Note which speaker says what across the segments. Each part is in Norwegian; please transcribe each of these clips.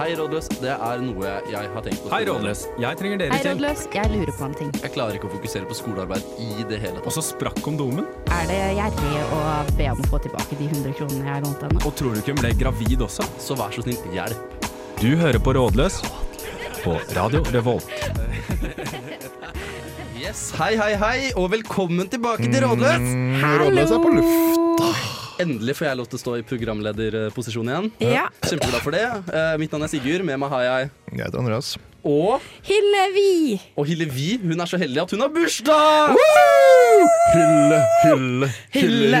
Speaker 1: Hei, rådløs. Det er noe jeg har tenkt på.
Speaker 2: Hei, Rådløs. Jeg trenger dere
Speaker 3: Hei,
Speaker 2: til.
Speaker 3: rådløs. Jeg lurer på en ting.
Speaker 1: Jeg klarer ikke å fokusere på skolearbeid i det hele
Speaker 2: Og
Speaker 1: tatt.
Speaker 2: så sprakk kondomen.
Speaker 3: Er det gjerrig å be om å få tilbake de 100 kronene jeg lånte henne?
Speaker 2: Og tror du ikke hun ble gravid også?
Speaker 1: Så vær så snill, hjelp.
Speaker 2: Du hører på Rådløs på Radio Revolt.
Speaker 1: Yes, Mm. Hei, hei, hei, og velkommen tilbake til Rådløs.
Speaker 4: Rådløs er på lufta.
Speaker 1: Endelig får jeg lov til å stå i programlederposisjon igjen.
Speaker 3: Ja.
Speaker 1: Kjempeglad for det. Eh, mitt navn er Sigurd, med meg har jeg
Speaker 4: Jeg heter Andreas.
Speaker 1: og
Speaker 3: Hillevi!
Speaker 1: Og Hillevi, hun er så heldig at hun har bursdag!
Speaker 4: Hylle, hylle,
Speaker 1: Hille,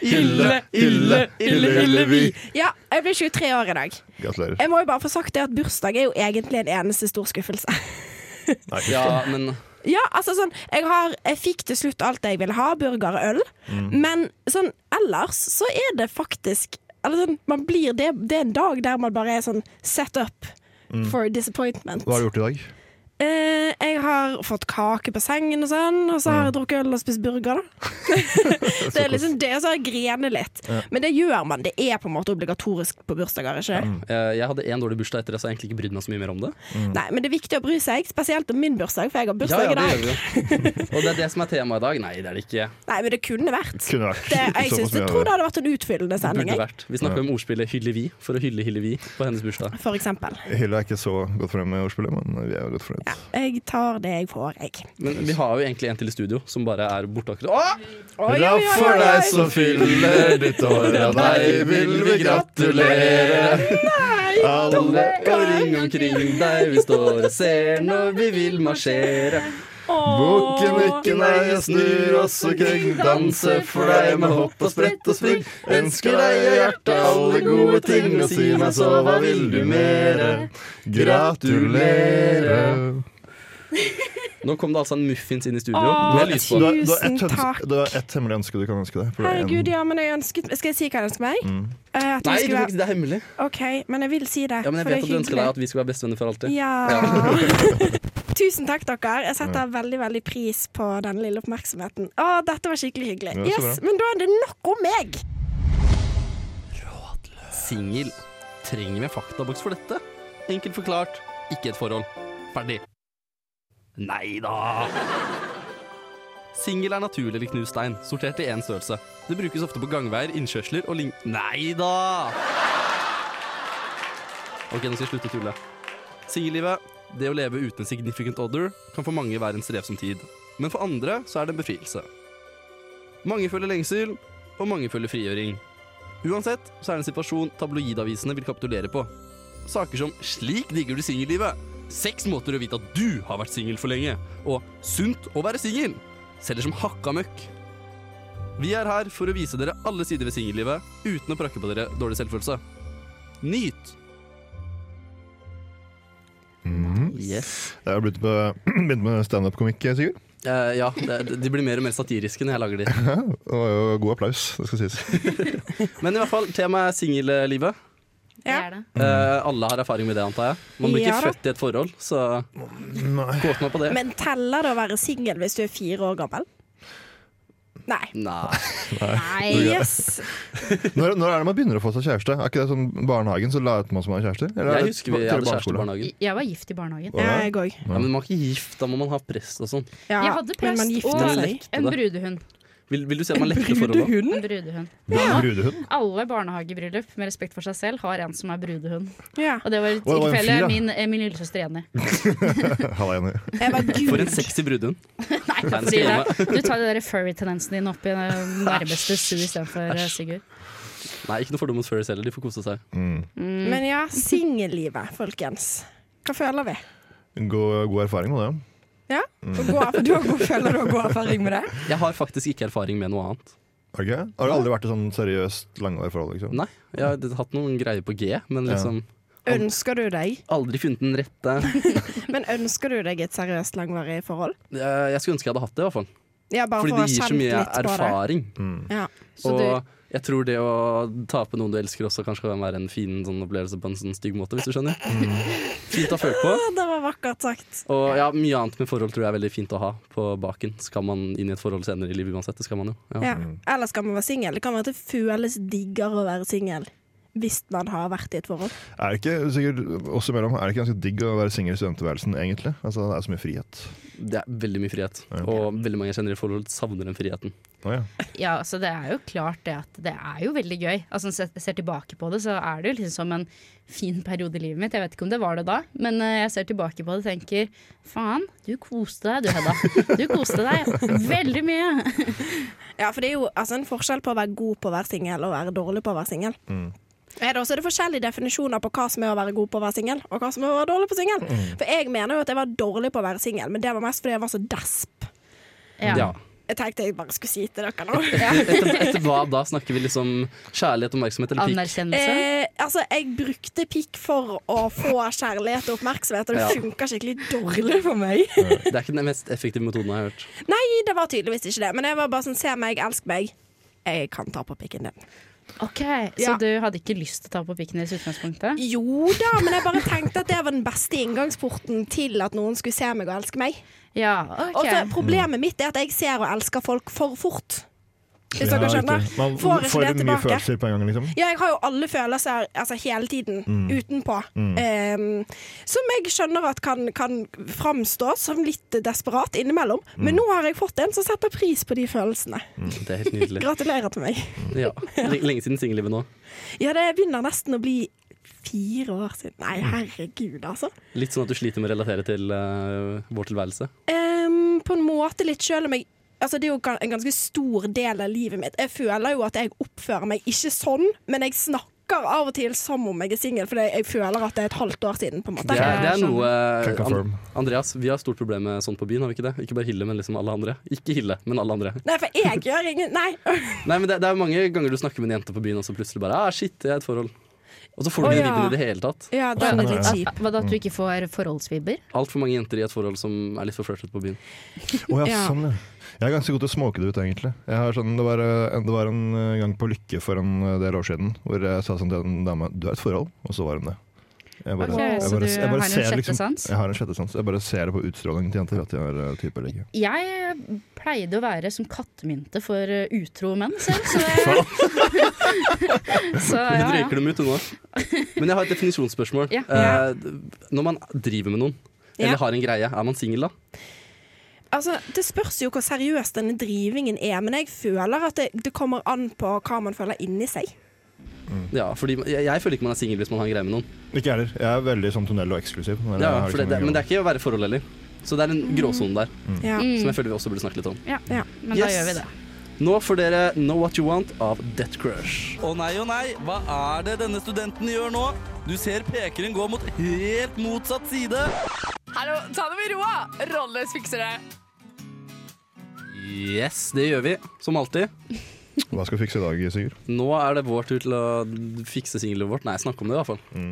Speaker 1: Hille, Hille, Hille, Hillevi.
Speaker 5: Ja, jeg blir 23 år i dag.
Speaker 4: Gratulerer.
Speaker 5: Jeg må jo bare få sagt det at bursdag er jo egentlig en eneste stor skuffelse.
Speaker 4: Nei,
Speaker 1: Ja, men
Speaker 5: Ja, altså sånn Jeg, har, jeg fikk til slutt alt jeg ville ha, burger og øl,
Speaker 4: Mm.
Speaker 5: men sånn ellers så er det faktisk Eller sånn, man blir det, det er en dag der man bare er sånn set up for disappointment.
Speaker 4: Mm. Hva har du gjort i dag?
Speaker 5: Eh, jeg har fått kake på sengen og sånn, og så har
Speaker 1: Mm.
Speaker 5: jeg drukket øl og spist burger, da. det er liksom det, og så har jeg grenet litt. Men det gjør man. Det er på en måte obligatorisk på bursdager, ikke det?
Speaker 1: eh, jeg hadde én dårlig bursdag etter det, så jeg har egentlig ikke brydd meg så mye mer om det.
Speaker 5: Nei, men det er viktig å bry seg, spesielt om min bursdag, for jeg
Speaker 1: mm.
Speaker 5: har
Speaker 1: Ja,
Speaker 5: bursdag
Speaker 1: ja, det
Speaker 5: i
Speaker 1: gjør
Speaker 5: dag.
Speaker 1: vi jo. Og det er det som er temaet i dag. Nei, det er det ikke.
Speaker 5: Nei, men det kunne vært.
Speaker 4: Kunne vært.
Speaker 5: Det, jeg,
Speaker 4: Såpass
Speaker 5: synes,
Speaker 4: mye
Speaker 5: jeg
Speaker 4: av
Speaker 5: tror
Speaker 4: det.
Speaker 5: det hadde vært en utfyllende sending,
Speaker 1: Burde
Speaker 5: jeg,
Speaker 1: vært. Vi snakker om ordspillet 'Hyllevi' for å hylle Hillevi på hennes bursdag.
Speaker 5: for eksempel.
Speaker 4: Hylle er ikke så godt fornøyd med ordspillet, men vi er jo godt fornøyd.
Speaker 5: Ja, jeg tar det jeg får, jeg.
Speaker 1: Men vi har jo egentlig en til i studio som bare er borte akkurat Å!
Speaker 5: Oi, oi, oi, oi, oi.
Speaker 4: som fyller ditt år, av deg vil vi gratulere.
Speaker 1: Alle og ring omkring deg, vi står og ser når vi vil marsjere.
Speaker 4: Bukken ikke nei, jeg snur oss og kring, danser for deg med hopp og sprett og spring. Ønsker deg i hjertet alle gode ting, og si meg så, hva vil du mere? Gratulere.
Speaker 1: Nå kom det altså en muffins inn i studio.
Speaker 5: Å,
Speaker 1: Med lys på.
Speaker 5: tusen- takk.
Speaker 4: Det var ett hemmelig ønske du kan ønske deg. for det er en- Mm.
Speaker 5: Herregud, ja, men jeg ønsket Skal jeg si hva jeg ønsker meg? Eh, at vi
Speaker 1: Nei, du
Speaker 5: skulle
Speaker 1: får ikke si det er hemmelig.
Speaker 5: være- OK, men jeg vil si det.
Speaker 1: Ja, men jeg
Speaker 5: for
Speaker 1: vet
Speaker 5: det
Speaker 1: at du
Speaker 5: er
Speaker 1: ønsker
Speaker 5: hyggelig.
Speaker 1: deg at vi skal være bestevenner for alltid.
Speaker 5: Ja. Tusen takk, dere. Jeg setter veldig veldig pris på den lille oppmerksomheten. Å, dette var skikkelig hyggelig.
Speaker 4: Ja, så
Speaker 5: Yes,
Speaker 4: bra.
Speaker 5: Men da er det nok om meg.
Speaker 1: Singel. Trenger vi en faktaboks for dette? Enkelt forklart, ikke et forhold. Ferdig. Nei da! Singel er naturlig eller knust stein, sortert i én størrelse. Det brukes ofte på gangveier, innkjørsler og lign... Nei da! Ok, nå skal jeg slutte å tulle. Singellivet, det å leve uten en significant other, kan for mange være en strevsom tid. Men for andre så er det en befrielse. Mange føler lengsel, og mange føler frigjøring. Uansett så er det en situasjon tabloidavisene vil kapitulere på. Saker som 'Slik digger du singellivet', 'Seks måter å vite at du har vært singel for lenge', og 'Sunt å være singel' selger som hakka møkk. Vi er her for å vise dere alle sider ved singellivet uten å prakke på dere dårlig selvfølelse. Nyt! Yes.
Speaker 4: Jeg har begynt med, begynt med standup-komikk, Sigurd.
Speaker 1: Eh, ja, det- de blir mer og mer satiriske når jeg lager de.
Speaker 4: Det var jo god applaus, det skal sies.
Speaker 1: Men i hvert fall, temaet er singellivet.
Speaker 5: Ja.
Speaker 3: er det.
Speaker 1: Eh, alle har erfaring med det, antar jeg. Man blir
Speaker 5: Ja
Speaker 1: ikke
Speaker 5: da.
Speaker 1: født i et forhold, så kåt meg på det.
Speaker 5: Men teller det å være singel hvis du er fire år gammel? Nei.
Speaker 1: Nei.
Speaker 3: Nei.
Speaker 5: Yes.
Speaker 4: Når, når er det man begynner å få seg kjæreste? Er ikke det sånn barnehagen så later man som man har kjæreste? Eller er
Speaker 1: Jeg
Speaker 4: det
Speaker 1: husker vi
Speaker 4: til
Speaker 1: hadde kjæreste i
Speaker 4: barneskole?
Speaker 1: barnehagen.
Speaker 3: Jeg var gift i barnehagen.
Speaker 5: Ja, jeg òg.
Speaker 1: Ja, men man er ikke gift, da må man ha prest og sånn.
Speaker 5: Ja,
Speaker 3: Jeg hadde
Speaker 5: men man
Speaker 3: prest
Speaker 5: gifter
Speaker 3: og
Speaker 5: seg.
Speaker 1: seg.
Speaker 3: en brudehund.
Speaker 1: Vil, vil du se at man lekte forholdet?
Speaker 3: En brudehund.
Speaker 4: Brudehund?
Speaker 3: Alle barnehagebryllup med respekt for seg selv har en som er brudehund.
Speaker 5: Ja.
Speaker 3: Og det var
Speaker 4: Å, det
Speaker 3: et
Speaker 4: var en
Speaker 3: tilfelle
Speaker 4: fyr, ja.
Speaker 3: min, eh, min lillesøster enig.
Speaker 4: Halla, Jenny.
Speaker 5: Jeg var
Speaker 1: For en
Speaker 5: gud.
Speaker 1: sexy brudehund.
Speaker 3: Nei,
Speaker 1: Nei,
Speaker 3: fordi
Speaker 1: det
Speaker 3: det, du tar den furry-tendensen din opp i den nærmeste Sue istedenfor eh, Sigurd.
Speaker 1: Nei, ikke noe fordom mot furries heller, de får kose seg.
Speaker 3: Mm.
Speaker 5: Men ja, singellivet, folkens. Hva føler vi?
Speaker 4: God, god erfaring med det.
Speaker 5: Ja? Og gå- Du har god, føler du har god erfaring med det?
Speaker 1: Jeg har faktisk ikke erfaring med noe annet.
Speaker 4: Ok? Har du aldri vært i sånn seriøst langvarig forhold? Liksom?
Speaker 1: Nei, jeg har hatt noen greier på G, men liksom
Speaker 5: Ønsker du deg
Speaker 1: aldri funnet den rette.
Speaker 5: Men ønsker du deg et seriøst langvarig forhold?
Speaker 1: Eh, Jeg skulle ønske jeg hadde hatt det, i hvert fall.
Speaker 5: Ja, bare
Speaker 1: Fordi
Speaker 5: for å
Speaker 1: det
Speaker 5: ha
Speaker 1: gir så
Speaker 5: kjent
Speaker 1: mye
Speaker 5: litt på det.
Speaker 1: erfaring.
Speaker 5: Ja.
Speaker 3: Så
Speaker 1: Og
Speaker 3: du,
Speaker 1: jeg tror det å ta på noen du elsker også kanskje kan være en fin sånn opplevelse på en sånn stygg måte, hvis du skjønner. Fint å ha følt på.
Speaker 5: Å, Det var vakkert sagt.
Speaker 1: Og ja, mye annet med forhold tror jeg er veldig fint å ha på baken. Skal man inn i et forhold senere i livet uansett, det skal man jo. Ja.
Speaker 5: Ja. Eller skal man være singel? Det kan være at det føles diggere å være singel hvis man har vært i et forhold.
Speaker 4: Er det ikke sikkert oss imellom, er det ikke ganske digg å være singel i studentværelsen, egentlig? Altså, Det er så mye frihet.
Speaker 1: Det er veldig mye frihet,
Speaker 4: Ja.
Speaker 1: og veldig mange jeg kjenner i forhold savner den friheten.
Speaker 4: Å, ja.
Speaker 3: Ja, så det er jo klart det at det er jo veldig gøy. Altså, når jeg ser tilbake på det, så er det jo liksom som en fin periode i livet mitt. Jeg vet ikke om det var det da, men eh, jeg ser tilbake på det og tenker faen, du koste deg du, Hedda. Du koste deg veldig mye.
Speaker 5: Ja, for det er jo altså, en forskjell på å være god på å være singel og være dårlig på å være singel.
Speaker 1: Mm.
Speaker 5: Er det også er det forskjellige definisjoner på hva som er å være god på å være singel, og hva som er å være dårlig på singel.
Speaker 1: Mm.
Speaker 5: For jeg mener jo at jeg var dårlig på å være singel, men det var mest fordi jeg var så desp.
Speaker 3: Ja.
Speaker 1: Ja.
Speaker 5: Jeg tenkte jeg bare skulle si til dere nå.
Speaker 1: Etter, etter hva da? Snakker vi liksom kjærlighet, oppmerksomhet eller pikk?
Speaker 3: Anerkjennelse.
Speaker 5: Eh, altså, jeg brukte pikk for å få kjærlighet og oppmerksomhet, og det
Speaker 1: Ja.
Speaker 5: funka skikkelig dårlig for meg.
Speaker 1: Det er ikke den mest effektive metoden jeg har hørt.
Speaker 5: Nei, det var tydeligvis ikke det, men jeg var bare sånn se meg, elsk meg. Jeg kan ta på pikken din.
Speaker 3: Ok, Så
Speaker 5: Ja.
Speaker 3: du hadde ikke lyst til å ta på pikken deres i utgangspunktet?
Speaker 5: Jo da, men jeg bare tenkte at det var den beste inngangsporten til at noen skulle se meg og elske meg.
Speaker 3: Ja,
Speaker 5: Og så
Speaker 3: ok.
Speaker 5: Problemet mitt er at jeg ser og elsker folk for fort. Hvis
Speaker 4: Ja,
Speaker 5: dere
Speaker 4: riktig.
Speaker 5: skjønner.
Speaker 4: Man får,
Speaker 5: Får ikke det
Speaker 4: du mye
Speaker 5: tilbake.
Speaker 4: følelser på en gang, liksom?
Speaker 5: Ja, jeg har jo alle følelser altså, hele tiden utenpå. Ehm, som jeg skjønner at kan, kan framstå som litt desperat innimellom. Men nå har jeg fått en som setter pris på de følelsene.
Speaker 1: Det er helt nydelig.
Speaker 5: Gratulerer til meg.
Speaker 1: Ja. Lenge lenge siden singellivet nå.
Speaker 5: Ja, det begynner nesten å bli fire år siden. Nei, herregud, altså.
Speaker 1: Litt sånn at du sliter med å relatere til eh, vår tilværelse.
Speaker 5: Ehm, på en måte litt sjøl om jeg Altså, det er jo ga- en ganske stor del av livet mitt. Jeg føler jo at jeg oppfører meg ikke sånn, men jeg snakker av og til som om jeg er singel, fordi jeg føler at det er et halvt år siden. på en måte.
Speaker 1: Det er, det er noe eh,
Speaker 4: Kan confirm.
Speaker 1: An- Andreas, vi har stort problem med sånn på byen, har vi ikke det? Ikke bare Hille, men liksom alle andre. Ikke Hille, men alle andre.
Speaker 5: Nei, for jeg gjør ingen Nei.
Speaker 1: Nei, men det, det er mange ganger du snakker med en jente på byen, og så plutselig bare ah, shit, jeg er i et forhold. Og så får du
Speaker 5: Å,
Speaker 1: ikke
Speaker 5: ja.
Speaker 1: vibben i det hele tatt.
Speaker 5: Ja, den er litt
Speaker 3: At-
Speaker 5: kjip.
Speaker 3: Hva da at du ikke får forholdsvibber?
Speaker 1: Altfor mange jenter i et forhold som er litt for flørtete på byen.
Speaker 4: Å, ja,
Speaker 5: Ja.
Speaker 4: sånn, ja. Jeg er ganske god til å smoke det ut, egentlig. Jeg har sånn, det, var, eh, det var en eh, gang på Lykke for en eh, del år siden hvor jeg sa sånn til en dame Du er et forhold, og så var hun det. Jeg liksom.
Speaker 3: Ok, så du har en sjette sans?
Speaker 4: Jeg har en sjette sans. Jeg bare ser det på utstrålingen til jenter at de er eh, type eller ikke.
Speaker 3: Jeg eh, pleide å være som kattemynte for eh, utro menn selv, så det Så
Speaker 1: Hun
Speaker 3: ja, ja.
Speaker 1: røyker dem ut, hun òg. Men jeg har et definisjonsspørsmål.
Speaker 3: Ja.
Speaker 1: Eh, når man driver med noen,
Speaker 5: Ja.
Speaker 1: eller har en greie, er man singel da?
Speaker 5: Altså, Det spørs jo hvor seriøs denne drivingen er, men jeg føler at det, det kommer an på hva man føler inni seg.
Speaker 1: Ja, fordi jeg, jeg føler ikke man er singel hvis man har en greie med noen.
Speaker 4: Ikke jeg heller. Jeg er veldig sånn tunnel og eksklusiv. men jeg
Speaker 1: Ja,
Speaker 4: har
Speaker 1: for det,
Speaker 4: liksom
Speaker 1: det, men
Speaker 4: en
Speaker 1: det
Speaker 4: gang-
Speaker 1: er ikke å være i forhold heller. Så det er en gråsone der,
Speaker 5: Ja.
Speaker 1: som jeg føler vi også burde snakke litt om.
Speaker 3: ja.
Speaker 5: Ja.
Speaker 3: Men da
Speaker 1: Yes.
Speaker 3: gjør vi det.
Speaker 1: Nå får dere Know What You Want av Death Crush. Å nei, å nei, hva er det denne studenten gjør nå? Du ser pekeren gå mot helt motsatt side.
Speaker 6: Hallo, ta det med ro, da! Rolleløs fikser det.
Speaker 1: Yes, det gjør vi, som alltid.
Speaker 4: Hva skal vi fikse i dag, Sigurd?
Speaker 1: Nå er det vår tur til å fikse singlet vårt. Nei, snakke om det i hvert fall.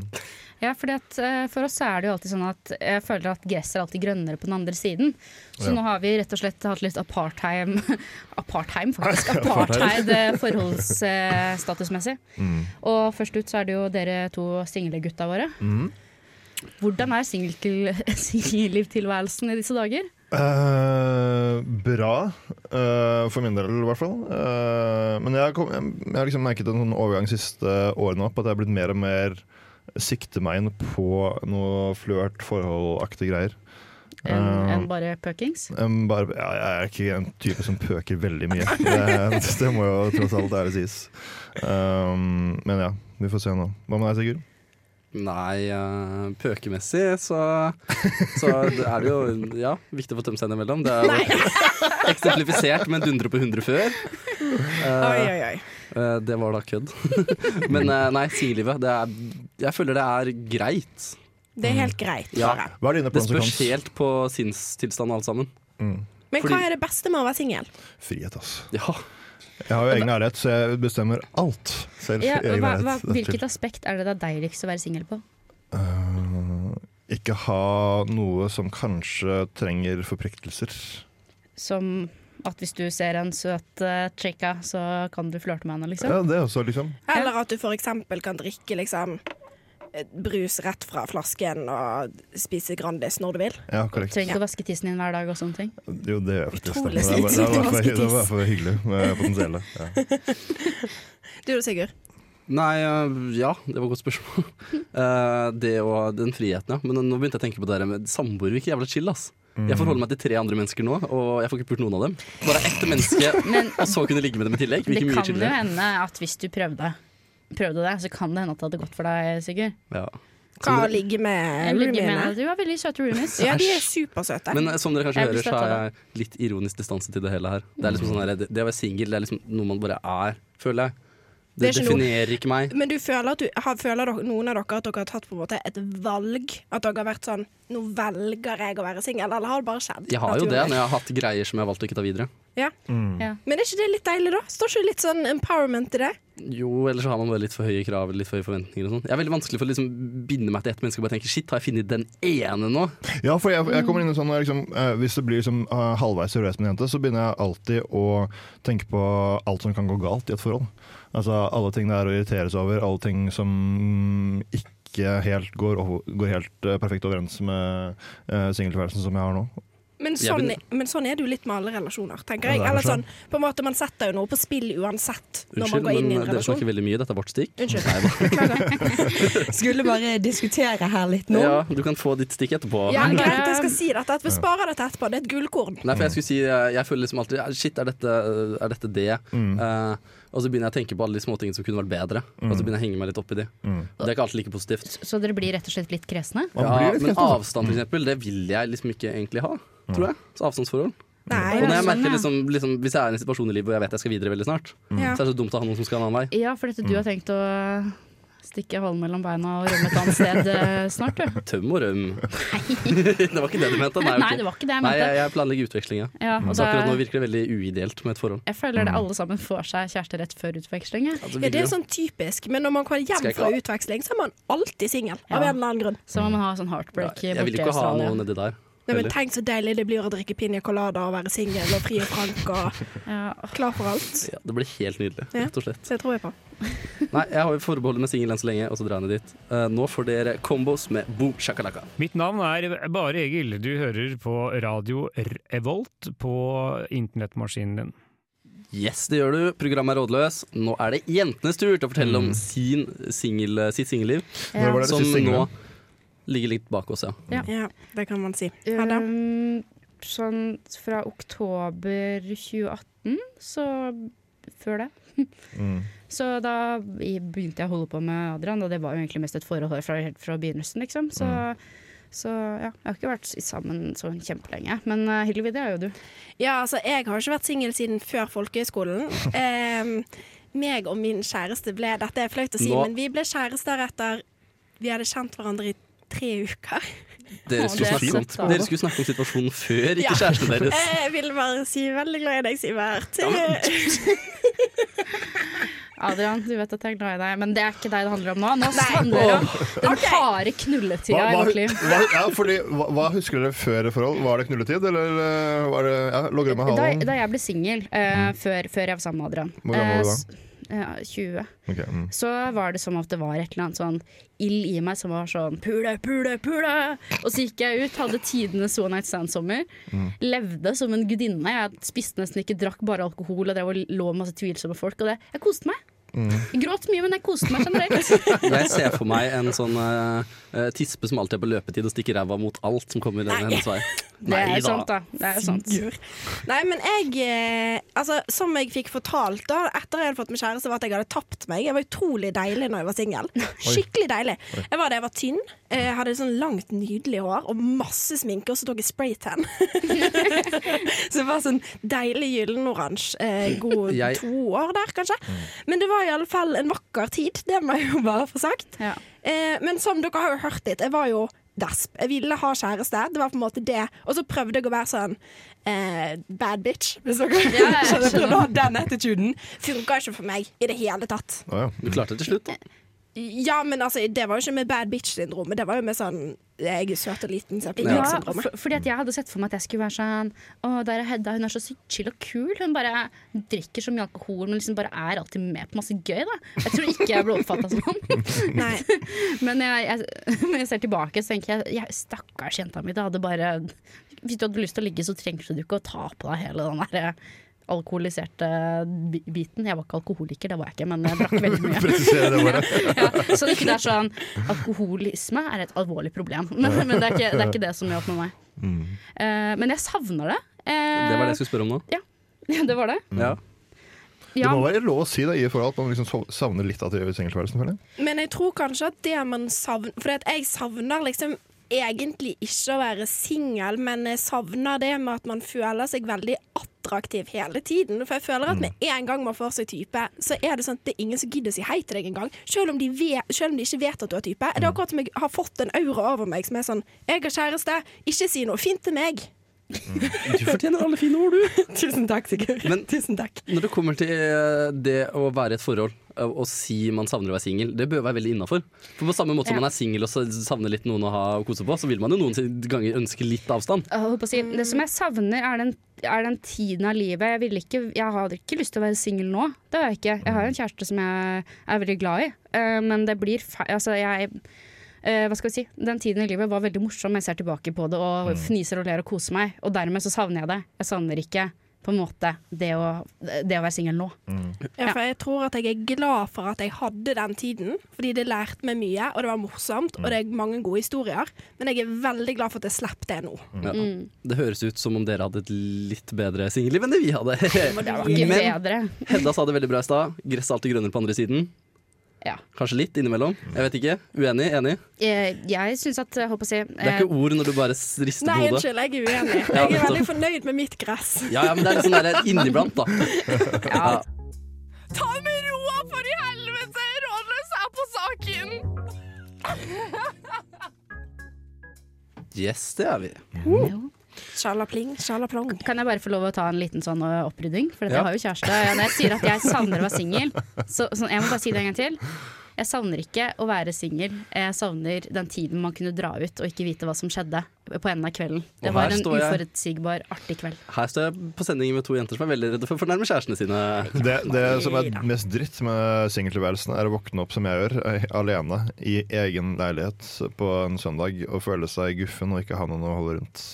Speaker 3: Ja, fordi at eh, For oss så er det jo alltid sånn at jeg føler at gress er alltid grønnere på den andre siden. Så
Speaker 4: Ja.
Speaker 3: nå har vi rett og slett hatt litt apartheim Apartheim, faktisk. Apartheid eh, forholdsstatusmessig.
Speaker 4: Mm.
Speaker 3: Og først ut så er det jo dere to singlegutta våre.
Speaker 4: Mm.
Speaker 3: Hvordan er singeltil- singellivtilværelsen i disse dager?
Speaker 4: Eh, bra, eh, for min del i hvert fall. Eh, men jeg har, kom, jeg, jeg har liksom merket en sånn overgang de siste årene opp, at jeg har blitt mer og mer sikte meg inn på noe flørt, forhold-aktige greier.
Speaker 3: Enn
Speaker 4: Eh,
Speaker 3: enn bare pøkings?
Speaker 4: em, bare, ja, jeg er ikke en type som pøker veldig mye. Det, det må jo tross alt ærlig sies. Um, men ja, vi får se nå. Hva med deg, Sigurd?
Speaker 1: Nei, eh, pøkemessig så, så er det jo ja, viktig å få tømt seg innimellom. Det er jo eksemplifisert med en dundre på hundre før. Eh,
Speaker 5: Oi, oi, oi.
Speaker 1: Eh, Det var da kødd. Men eh, nei, singellivet. det er- Jeg føler det er greit.
Speaker 5: Det er helt greit.
Speaker 1: Mm. Ja.
Speaker 5: bare.
Speaker 4: Hva er dine
Speaker 1: Det
Speaker 4: plans og
Speaker 1: spørs
Speaker 4: kans?
Speaker 1: helt på sinnstilstand og alt sammen.
Speaker 5: Men
Speaker 1: Fordi-
Speaker 5: hva er det beste med å være singel?
Speaker 4: Frihet, altså.
Speaker 1: Ja.
Speaker 4: Jeg har jo egen ærlighet, så jeg bestemmer alt selv.
Speaker 3: Ja,
Speaker 4: i egen
Speaker 3: hva, hva,
Speaker 4: ærlighet. Det er chill.
Speaker 3: hvilket aspekt er det da deiligst å være singel på?
Speaker 4: Eh, ikke ha noe som kanskje trenger forpliktelser.
Speaker 3: Som at hvis du ser en søt uh, chica, så kan du flørte med henne, liksom?
Speaker 4: Ja, det også, liksom.
Speaker 5: Eller at du for eksempel kan drikke liksom eh, brus rett fra flasken og spise Grandis når du vil.
Speaker 4: Ja, korrekt.
Speaker 3: Trenger ikke å vaske tissen din hver dag og sånne ting.
Speaker 4: Jo, det gjør jeg faktisk.
Speaker 5: Utrolig
Speaker 4: det. Det var- det var
Speaker 5: slitsomt å
Speaker 4: for-
Speaker 5: vaske
Speaker 4: Det var for hyggelig med potensialet. Ja.
Speaker 5: Du da, Sigurd?
Speaker 1: Nei, øh, ja, det var et godt spørsmål. Eh, det og den friheten, ja. Men nå begynte jeg å tenke på det her med samboere virker jævla chill, ass. Jeg forholder meg til tre andre mennesker nå, og jeg får ikke pult noen av dem. Bare ett menneske,
Speaker 3: Men-
Speaker 1: og så kunne ligge med dem i tillegg.
Speaker 3: Det
Speaker 1: Virker mye
Speaker 3: kan jo
Speaker 1: chillere.
Speaker 3: hende at hvis du prøvde, prøvde det, så kan det hende at det hadde gått for deg, Sigurd.
Speaker 1: Ja.
Speaker 5: Hva ligger med
Speaker 3: Jeg ligger med
Speaker 5: roomiene?
Speaker 3: at Du har veldig søte roomies.
Speaker 5: Ja, de er supersøte.
Speaker 1: Men eh, som dere kanskje
Speaker 3: Jeg blir
Speaker 1: hører, så
Speaker 3: støttet
Speaker 1: har jeg litt ironisk distanse til det hele her. Det er liksom sånn her, det, det å være singel, det er liksom noe man bare er, føler jeg. Det,
Speaker 5: Det er ikke noe-
Speaker 1: definerer ikke meg.
Speaker 5: Men du føler, at du, har, føler dere, noen av dere at dere har tatt på en måte et valg? At dere har vært sånn Nå velger jeg å være singel, eller har det bare skjedd?
Speaker 1: Jeg har jo det
Speaker 5: naturlig?
Speaker 1: når jeg har hatt greier som jeg har valgt å ikke ta videre.
Speaker 5: Ja.
Speaker 7: Mm.
Speaker 3: Ja.
Speaker 5: Men er ikke det litt deilig, da? Står ikke det litt sånn empowerment i det?
Speaker 1: Jo, eller så har man bare litt for høye krav eller litt for høye forventninger. og sånn. Jeg er veldig vanskelig for å liksom binde meg til ett menneske og bare tenke shit, har jeg funnet den ene nå?
Speaker 4: Ja, for jeg, jeg kommer inn i sånn når jeg liksom, eh, Hvis det blir liksom, eh, halvveis seriøst med en jente, så begynner jeg alltid å tenke på alt som kan gå galt i et forhold. Altså Alle ting det er å irritere seg over, alle ting som ikke helt går, o- går helt eh, perfekt overens med eh, singeltilværelsen som jeg har nå.
Speaker 5: Men
Speaker 1: Jeg
Speaker 5: sånn,
Speaker 1: begynner-
Speaker 5: men sånn er det jo litt med alle relasjoner,
Speaker 4: Ja,
Speaker 5: tenker jeg.
Speaker 4: det er
Speaker 5: Eller
Speaker 4: sånn.
Speaker 5: sånn, på en måte Man setter jo noe på spill uansett når man
Speaker 1: Unnskyld,
Speaker 5: går inn
Speaker 1: men
Speaker 5: i en
Speaker 1: dere
Speaker 5: relasjon.
Speaker 1: snakker veldig mye. Dette er vårt stikk.
Speaker 5: Unnskyld.
Speaker 1: Nei, hva-
Speaker 5: Beklager.
Speaker 7: Skulle bare diskutere her litt nå.
Speaker 1: ja, du kan få ditt stikk etterpå.
Speaker 5: Ja, greit, jeg skal si dette. Vi sparer dette etterpå. Det er et gullkorn.
Speaker 1: Nei, for
Speaker 4: Mm.
Speaker 1: jeg skulle si Jeg, jeg føler liksom alltid Shit, er dette, er dette det?
Speaker 4: Mm.
Speaker 1: Eh, og så begynner jeg å tenke på alle de småtingene som kunne vært bedre. Og
Speaker 4: Mm.
Speaker 1: så begynner jeg å henge meg litt opp i de. Det er ikke alltid like positivt.
Speaker 3: Så dere blir rett og slett litt kresne?
Speaker 4: Man blir litt
Speaker 1: men
Speaker 4: kjent, altså.
Speaker 1: avstand, for eksempel, det vil jeg liksom ikke egentlig ha.
Speaker 4: Mm.
Speaker 1: Tror jeg. Så avstandsforhold.
Speaker 5: Nei.
Speaker 1: Og når jeg
Speaker 3: sånn,
Speaker 1: merker
Speaker 3: ja.
Speaker 1: liksom, liksom Hvis jeg er i en situasjon i livet hvor jeg vet jeg skal videre veldig snart,
Speaker 3: Mm.
Speaker 5: Ja.
Speaker 1: så er det så dumt å ha noen som skal en annen vei.
Speaker 3: Ja, for
Speaker 1: Mm.
Speaker 3: dette du har tenkt å stikke halen mellom beina og rømme et annet sted eh, snart, du.
Speaker 1: Tøm og røm. det var ikke det du mente. Nei,
Speaker 3: Nei,
Speaker 1: ok.
Speaker 3: det var ikke det jeg
Speaker 1: Nei jeg,
Speaker 3: mente.
Speaker 1: jeg planlegger utveksling, ja.
Speaker 3: Ja, og
Speaker 1: Så akkurat nå
Speaker 3: da,
Speaker 1: virker Mm. det veldig uideelt med et forhold.
Speaker 3: jeg føler det alle sammen får seg kjæreste rett før utveksling. jeg.
Speaker 1: Altså,
Speaker 5: Ja, det
Speaker 1: virkelig,
Speaker 5: er sånn typisk, men når man kommer hjem
Speaker 1: Skal jeg
Speaker 5: fra
Speaker 1: ikke ha-
Speaker 5: utveksling, så er man alltid singel. Av
Speaker 3: Ja.
Speaker 5: en eller annen grunn.
Speaker 3: Så må man ha sånn
Speaker 1: ja.
Speaker 3: heartbreak
Speaker 1: Jeg vil
Speaker 3: borte i
Speaker 1: ikke ha noe
Speaker 3: Australia.
Speaker 1: nedi der.
Speaker 5: Nei, men
Speaker 1: heller.
Speaker 5: Tenk så deilig det blir å drikke piña colada og være singel og fri og frank og
Speaker 3: Ja.
Speaker 5: klar for alt.
Speaker 1: Ja, det blir helt nydelig,
Speaker 5: Ja.
Speaker 1: rett og slett.
Speaker 5: Så jeg tror jeg på.
Speaker 1: Nei, jeg har jo forbeholdet med singel enn så lenge, og så drar jeg ned dit. Eh, nå får dere combos med boom shakalaka.
Speaker 8: Mitt navn er Bare Egil. Du hører på radio Revolt på internettmaskinen din.
Speaker 1: Yes, det gjør du. Programmet er rådløs. Nå er det jentenes tur til å fortelle
Speaker 8: Mm.
Speaker 1: om sin single, sitt singelliv,
Speaker 4: Når var det
Speaker 1: som
Speaker 4: sist
Speaker 1: nå
Speaker 4: singelen?
Speaker 1: ligger litt bak oss, ja.
Speaker 5: Ja, det kan man si. Hedda?
Speaker 3: Um, sånn fra oktober 2018, så før det.
Speaker 4: Mm.
Speaker 3: Så da i- begynte jeg å holde på med Adrian, og det var jo egentlig mest et forhold her fra, helt fra begynnelsen, liksom. Så,
Speaker 4: Mm.
Speaker 3: så ja, jeg har ikke vært s- sammen sånn kjempelenge. Men uh, Hillevi, det er jo du.
Speaker 5: Ja, altså, jeg har ikke vært singel siden før folkehøyskolen. Em, meg og min kjæreste ble Dette er flaut å si,
Speaker 1: Nå-
Speaker 5: men vi ble kjærester etter Vi hadde kjent hverandre i tre uker.
Speaker 1: Dere
Speaker 3: Å,
Speaker 1: skulle,
Speaker 3: det er
Speaker 1: snakke om,
Speaker 3: søtt, da.
Speaker 1: dere skulle snakke om situasjonen før, ikke kjæresten deres.
Speaker 5: Jeg vil bare si veldig glad i deg, Sivert.
Speaker 3: Adrian, du vet at jeg er glad i deg, men det er ikke deg det handler om nå. Nå handler det om den harde knulletida i vårt liv.
Speaker 4: hva, ja, fordi, hva, hva husker dere før forhold? Var det knulletid, eller eh, var det ja, lå dere med
Speaker 3: Da,
Speaker 4: halen?
Speaker 3: da jeg ble singel, eh, før, før jeg var sammen med Adrian
Speaker 4: Mm. Hvor gammel
Speaker 3: eh,
Speaker 4: var du da?
Speaker 3: s- Ja, 20.
Speaker 4: Ok, mm.
Speaker 3: så var det som at det var et eller annet sånn ild i meg som var sånn pule, pule, pule. Og så gikk jeg ut, hadde tidenes one night stand-sommer.
Speaker 5: Mm.
Speaker 3: Levde som en gudinne. Jeg spiste nesten ikke, drakk bare alkohol og drev og lå med masse tvilsomme folk. Og det, jeg koste meg.
Speaker 5: Mm.
Speaker 3: Jeg gråt mye, men jeg koste meg generelt.
Speaker 1: Jeg ser for meg en sånn eh, eh, tispe som alltid er på løpetid og stikker ræva mot alt som kommer hennes vei.
Speaker 3: Det er sant, da. Det er sant.
Speaker 5: Nei, men jeg eh, Altså, som jeg fikk fortalt da etter jeg hadde fått meg kjæreste, var at jeg hadde tapt meg. Jeg var utrolig deilig når jeg var singel. Skikkelig deilig. Jeg var det, jeg var tynn, eh, hadde sånn langt, nydelig hår og masse sminke, og så tok jeg spraytan. så jeg var sånn deilig gyllenoransje. Eh, god
Speaker 1: Jeg-
Speaker 5: to år der, kanskje. Men det var i alle fall en vakker tid, det må jeg jo bare få sagt.
Speaker 3: Ja.
Speaker 5: Eh, men som dere har jo hørt litt, jeg var jo desp. Jeg ville ha kjæreste. Det var på en måte det. Og så prøvde jeg å være sånn eh, bad bitch, hvis dere
Speaker 3: Ja, jeg
Speaker 5: skjønner. Jeg
Speaker 3: skjønner.
Speaker 5: prøvde å ha den attituden. Funka ikke for meg i det hele tatt.
Speaker 4: Å, ja.
Speaker 1: Du klarte det til slutt, da.
Speaker 5: Ja, men altså, det var jo ikke med bad bitch-syndromet. Det var jo med sånn jeg er søt og liten, så jeg blir
Speaker 3: Ja,
Speaker 5: syndromet
Speaker 3: for, fordi at jeg hadde sett for meg at jeg skulle være sånn Å, der er Hedda, hun er så sykt chill og kul. Hun bare drikker så mye alkohol, men liksom bare er alltid med på masse gøy, da. Jeg tror ikke jeg ble oppfatta sånn.
Speaker 5: Nei.
Speaker 3: Men jeg, jeg, når jeg ser tilbake, så tenker jeg, jeg Stakkars jenta mi. Det hadde bare Hvis du hadde lyst til å ligge, så trengte du ikke å ta på deg hele den der eh, alkoholiserte bi- biten. Jeg var ikke alkoholiker, det var jeg ikke, men jeg drakk veldig mye.
Speaker 4: Presisere det bare.
Speaker 3: ja, så det ikke er sånn Alkoholisme er et alvorlig problem, men, men det, er ikke, det er ikke det som hjalp med meg. Eh, men jeg savner det. Eh,
Speaker 1: Mm. Det var det jeg skulle spørre om nå.
Speaker 3: det var det?
Speaker 1: Ja.
Speaker 3: Ja,
Speaker 4: Det må være lov å si det i forhold at man liksom sov- savner litt av det i sengeltilværelsen. føler jeg.
Speaker 5: Men jeg tror kanskje at det man savner For jeg savner liksom egentlig ikke å være singel, men jeg savner det med at man føler seg veldig attraktiv hele tiden. For jeg føler at med en gang man får seg type, så er det sånn at det er ingen som gidder å si hei til deg engang. Selv, om de ve- selv om de ikke vet at du er type. Det er akkurat som jeg har fått en aura over meg som er sånn Jeg har kjæreste, ikke si noe fint til meg.
Speaker 1: Du fortjener alle fine ord, du.
Speaker 7: Tusen takk, Sigurd.
Speaker 1: Men-
Speaker 7: Tusen takk.
Speaker 1: Når det kommer til eh, det å være i et forhold eh, og si man savner å være singel, det bør være veldig innafor. For på samme måte som
Speaker 3: Ja.
Speaker 1: man er singel og så savner litt noen å ha og kose på, så vil man jo noen ganger ønske litt avstand.
Speaker 3: jeg holdt på å si, det som jeg savner, er den, er den tiden av livet. Jeg, vil ikke, jeg hadde ikke lyst til å være singel nå. Det har jeg ikke. Jeg
Speaker 1: Mm.
Speaker 3: har en kjæreste som jeg er veldig glad i, eh, men det blir feil Altså, jeg eh, hva skal vi si? Den tiden i livet var veldig morsom. Jeg ser tilbake på det
Speaker 1: Mm.
Speaker 3: og fniser og ler og koser meg. Og dermed så savner jeg det. Jeg savner ikke på en måte det å, det å være singel nå.
Speaker 1: Mm.
Speaker 5: Ja, for jeg tror at jeg er glad for at jeg hadde den tiden, fordi det lærte meg mye, og det var morsomt, og det er mange gode historier. Men jeg er veldig glad for at jeg slapp det nå.
Speaker 1: Ja.
Speaker 3: Mm.
Speaker 1: Det høres ut som om dere hadde et litt bedre singelliv enn det vi hadde.
Speaker 3: Det var ikke
Speaker 1: Men
Speaker 3: bedre.
Speaker 1: Hedda sa det veldig bra i stad. Gresset er alltid grønnere på andre siden.
Speaker 3: Ja.
Speaker 1: Kanskje litt innimellom. Jeg vet ikke. Uenig? Enig?
Speaker 3: Eh, Jeg syns at jeg holdt på å si eh,
Speaker 1: Det er ikke ord når du bare s- rister
Speaker 5: Nei,
Speaker 1: på hodet.
Speaker 5: unnskyld, jeg er uenig.
Speaker 1: Ja,
Speaker 5: Jeg er
Speaker 1: nettopp.
Speaker 5: veldig fornøyd med mitt gress.
Speaker 1: Ja, ja, men det er litt sånn der inniblant, da. Ja.
Speaker 6: Ta det med roa, for i helvete! Rådløs er på saken!
Speaker 1: Yes, det er vi.
Speaker 5: Sjalapling, sjalaplong.
Speaker 3: Kan jeg bare få lov å ta en liten sånn ø, opprydding? For at
Speaker 1: Ja.
Speaker 3: jeg har jo kjæreste. og Når jeg sier at jeg savner å være singel, så, så jeg må bare si det en gang til. Jeg savner ikke å være singel. Jeg savner den tiden man kunne dra ut og ikke vite hva som skjedde på enden av kvelden.
Speaker 1: Og
Speaker 3: Det
Speaker 1: her
Speaker 3: var en
Speaker 1: står jeg.
Speaker 3: uforutsigbar, artig kveld.
Speaker 1: Her står jeg på sending med to jenter som er veldig redde for å fornærme kjærestene sine.
Speaker 4: Det, det som er mest dritt med singeltilværelsen, er å våkne opp som jeg gjør, eh, alene i egen leilighet på en søndag og føle seg guffen og ikke ha noen å holde rundt.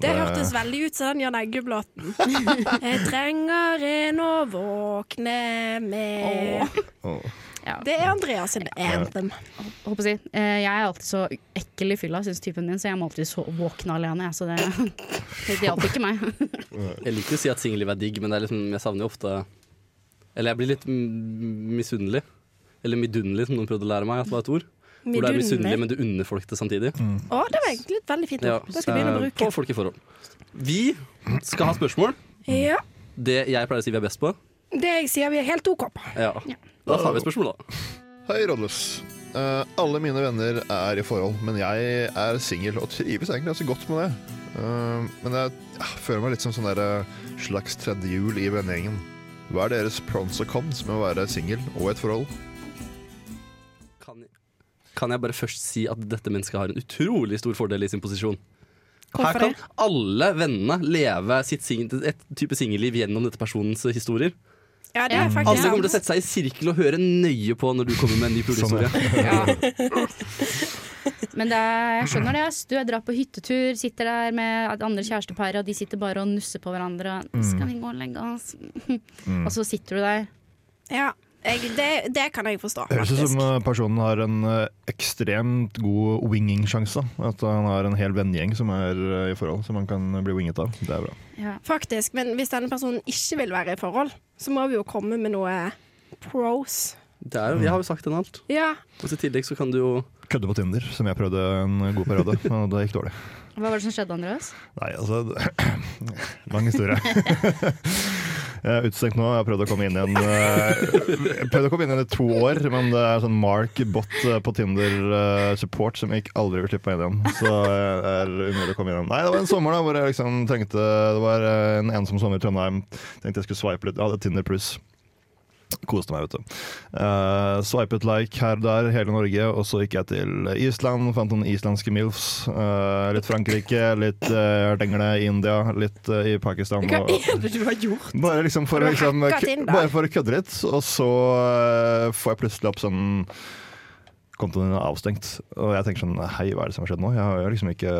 Speaker 5: Det hørtes veldig ut som den Jan Egge-blåten. Jeg trenger en å våkne med
Speaker 4: Åh.
Speaker 5: Det er Andreas sin anthem.
Speaker 3: Jeg Håper å si. eh, Jeg er alltid så ekkel i fylla, syns typen min, så jeg må alltid so- våkne alene. jeg, Så det, det hjalp ikke meg.
Speaker 1: Jeg liker å si at singelliv er digg, men det er liksom, jeg savner jo ofte Eller jeg blir litt mm, misunnelig. Eller midunnelig, som noen prøvde å lære meg at var et ord. Hvor du er misunnelig, men du unner folk det samtidig.
Speaker 5: Å, det var egentlig et veldig fint
Speaker 1: Ja,
Speaker 5: ord. Det skal jeg begynne å
Speaker 1: eh, på
Speaker 5: bruke.
Speaker 1: folk i forhold. Vi skal ha spørsmål.
Speaker 5: Ja,
Speaker 1: Det jeg pleier å si vi er best på.
Speaker 5: Det jeg sier vi er helt OK på.
Speaker 1: Ja. Da tar vi et spørsmål, da.
Speaker 4: Hei, Rådløs. Eh, alle mine venner er i forhold, men jeg er singel og trives egentlig ganske godt med det. Eh, men jeg ah, føler meg litt som sånn der, eh, slags tredje hjul i vennegjengen. Hva er deres pros og cons med å være singel og i et forhold?
Speaker 1: Kan jeg, kan jeg bare først si at dette mennesket har en utrolig stor fordel i sin posisjon. Her kan alle vennene leve sitt sing- et type singelliv gjennom dette personens historier.
Speaker 5: Ja, det er faktisk
Speaker 1: Alle kommer til å sette seg i sirkel og høre nøye på når du kommer med en ny pulehistorie.
Speaker 3: Men det er, jeg skjønner det. ass. Du er drar på hyttetur, sitter der med et andre kjærestepar, og de sitter bare og nusser på hverandre. Og, skal vi gå og legge oss? og så sitter du der.
Speaker 5: Ja, jeg, det, det kan jeg forstå.
Speaker 4: Høres ut
Speaker 5: faktisk.
Speaker 4: som eh, personen har en eh, ekstremt god winging-sjanse. da. At han har en hel vennegjeng som er eh, i forhold, som han kan bli winget av. Det er bra.
Speaker 5: Faktisk, Men hvis denne personen ikke vil være i forhold, så må vi jo komme med noe pros.
Speaker 1: Det er jo, jeg har jo sagt den alt.
Speaker 5: Ja,
Speaker 1: Og så i tillegg så kan du jo
Speaker 4: Kødde på Tinder, som jeg prøvde en god periode, men det gikk dårlig.
Speaker 3: Hva var det som skjedde, Andreas?
Speaker 4: Nei, altså Lang historie. Jeg er utestengt nå. Jeg har prøvd å komme inn igjen eh, Jeg prøvde å komme inn igjen i to år, men det er sånn Mark Bot eh, på Tinder eh, Support som jeg aldri vil slippe meg inn igjen. Så det er umulig å komme inn igjen. Nei, det var en sommer da hvor jeg liksom trengte Det var eh, en ensom sommer i Trondheim. Tenkte jeg skulle swipe litt. Jeg hadde Tinder pluss. Koste meg, vet du. Eh, swipet like her og der, hele Norge, og så gikk jeg til Island. Fant noen islandske MILFs. eh, litt Frankrike, litt eh, Dengle i India, litt eh, i Pakistan.
Speaker 5: Hva
Speaker 4: og-
Speaker 5: er det du har gjort?
Speaker 4: bare, liksom for, å
Speaker 5: Har du
Speaker 4: liksom,
Speaker 5: hacka Tinder?
Speaker 4: bare for å kødde litt, og så eh, får jeg plutselig opp sånn kontoen din er avstengt. Og jeg tenker sånn hei, hva er det som har skjedd nå? Jeg har jo liksom ikke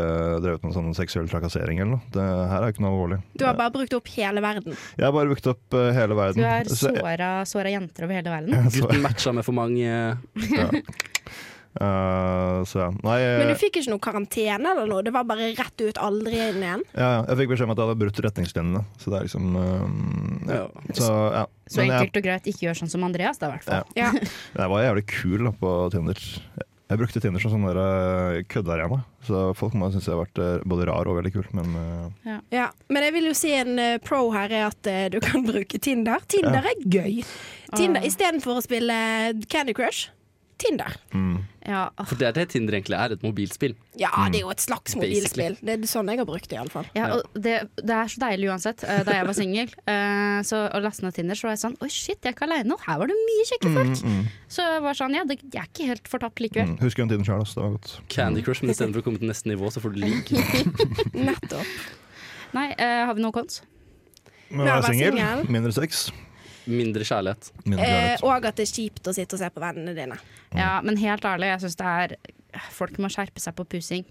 Speaker 4: drevet med sånn seksuell trakassering eller noe. Det her er jo ikke noe alvorlig.
Speaker 5: Du har bare brukt opp hele verden.
Speaker 4: Jeg har bare brukt opp eh, hele
Speaker 3: Du
Speaker 4: verden.
Speaker 3: har
Speaker 4: Så-
Speaker 3: såra, såra jenter over hele verden.
Speaker 1: Gutten matcha med for mange
Speaker 4: Eh, så ja. Nei,
Speaker 5: Men du
Speaker 4: jeg,
Speaker 5: fikk ikke noe karantene eller noe? Det var bare rett ut, aldri inn igjen?
Speaker 4: ja, ja, jeg fikk beskjed om at jeg hadde brutt retningslinjene. Så det er liksom eh, ja.
Speaker 1: ja.
Speaker 4: Så, ja.
Speaker 3: Så
Speaker 4: Men jeg,
Speaker 3: enkelt og greit, ikke gjør sånn som Andreas, da, i hvert fall.
Speaker 5: Ja.
Speaker 4: jeg var jævlig kul da, på Tinder. Jeg brukte Tinder som sånn der, eh, køddearena, så folk må synes jeg har vært eh, både rar og veldig kul. Men eh,
Speaker 5: Ja, Men jeg vil jo si en eh, pro her er at eh, du kan bruke Tinder. Ah. Tinder er gøy. Tinder, Istedenfor å spille Candy Crush Tinder.
Speaker 3: Ja, åh,
Speaker 1: For det er det Tinder egentlig er, et mobilspill.
Speaker 5: Ja, det er jo et slags mobilspill. Det er sånn jeg har brukt det, iallfall.
Speaker 3: ja, og det, det er så deilig uansett. Eh, Da jeg var singel eh, så- og lastet ned Tinder, så var jeg sånn Oi, shit, jeg er ikke aleine. og Her var det mye kjekke folk. Så jeg var sånn Ja, det, jeg er ikke helt fortapt likevel.
Speaker 4: mm, husker den tiden sjøl, altså. Det var godt.
Speaker 1: Candy Crush, men istedenfor å komme til neste nivå, så får du ligg.
Speaker 5: Nettopp.
Speaker 3: Nei, eh, har vi noen cons?
Speaker 4: Men jeg
Speaker 5: Ja,
Speaker 4: er
Speaker 5: vær
Speaker 4: singel.
Speaker 5: singel.
Speaker 4: Mindre sex.
Speaker 1: Mindre kjærlighet.
Speaker 4: Mindre
Speaker 5: Eh,
Speaker 4: kjærlighet.
Speaker 5: og at det er kjipt å sitte og se på vennene dine.
Speaker 3: Ja, men helt ærlig, jeg syns det er Folk må skjerpe seg på pusing.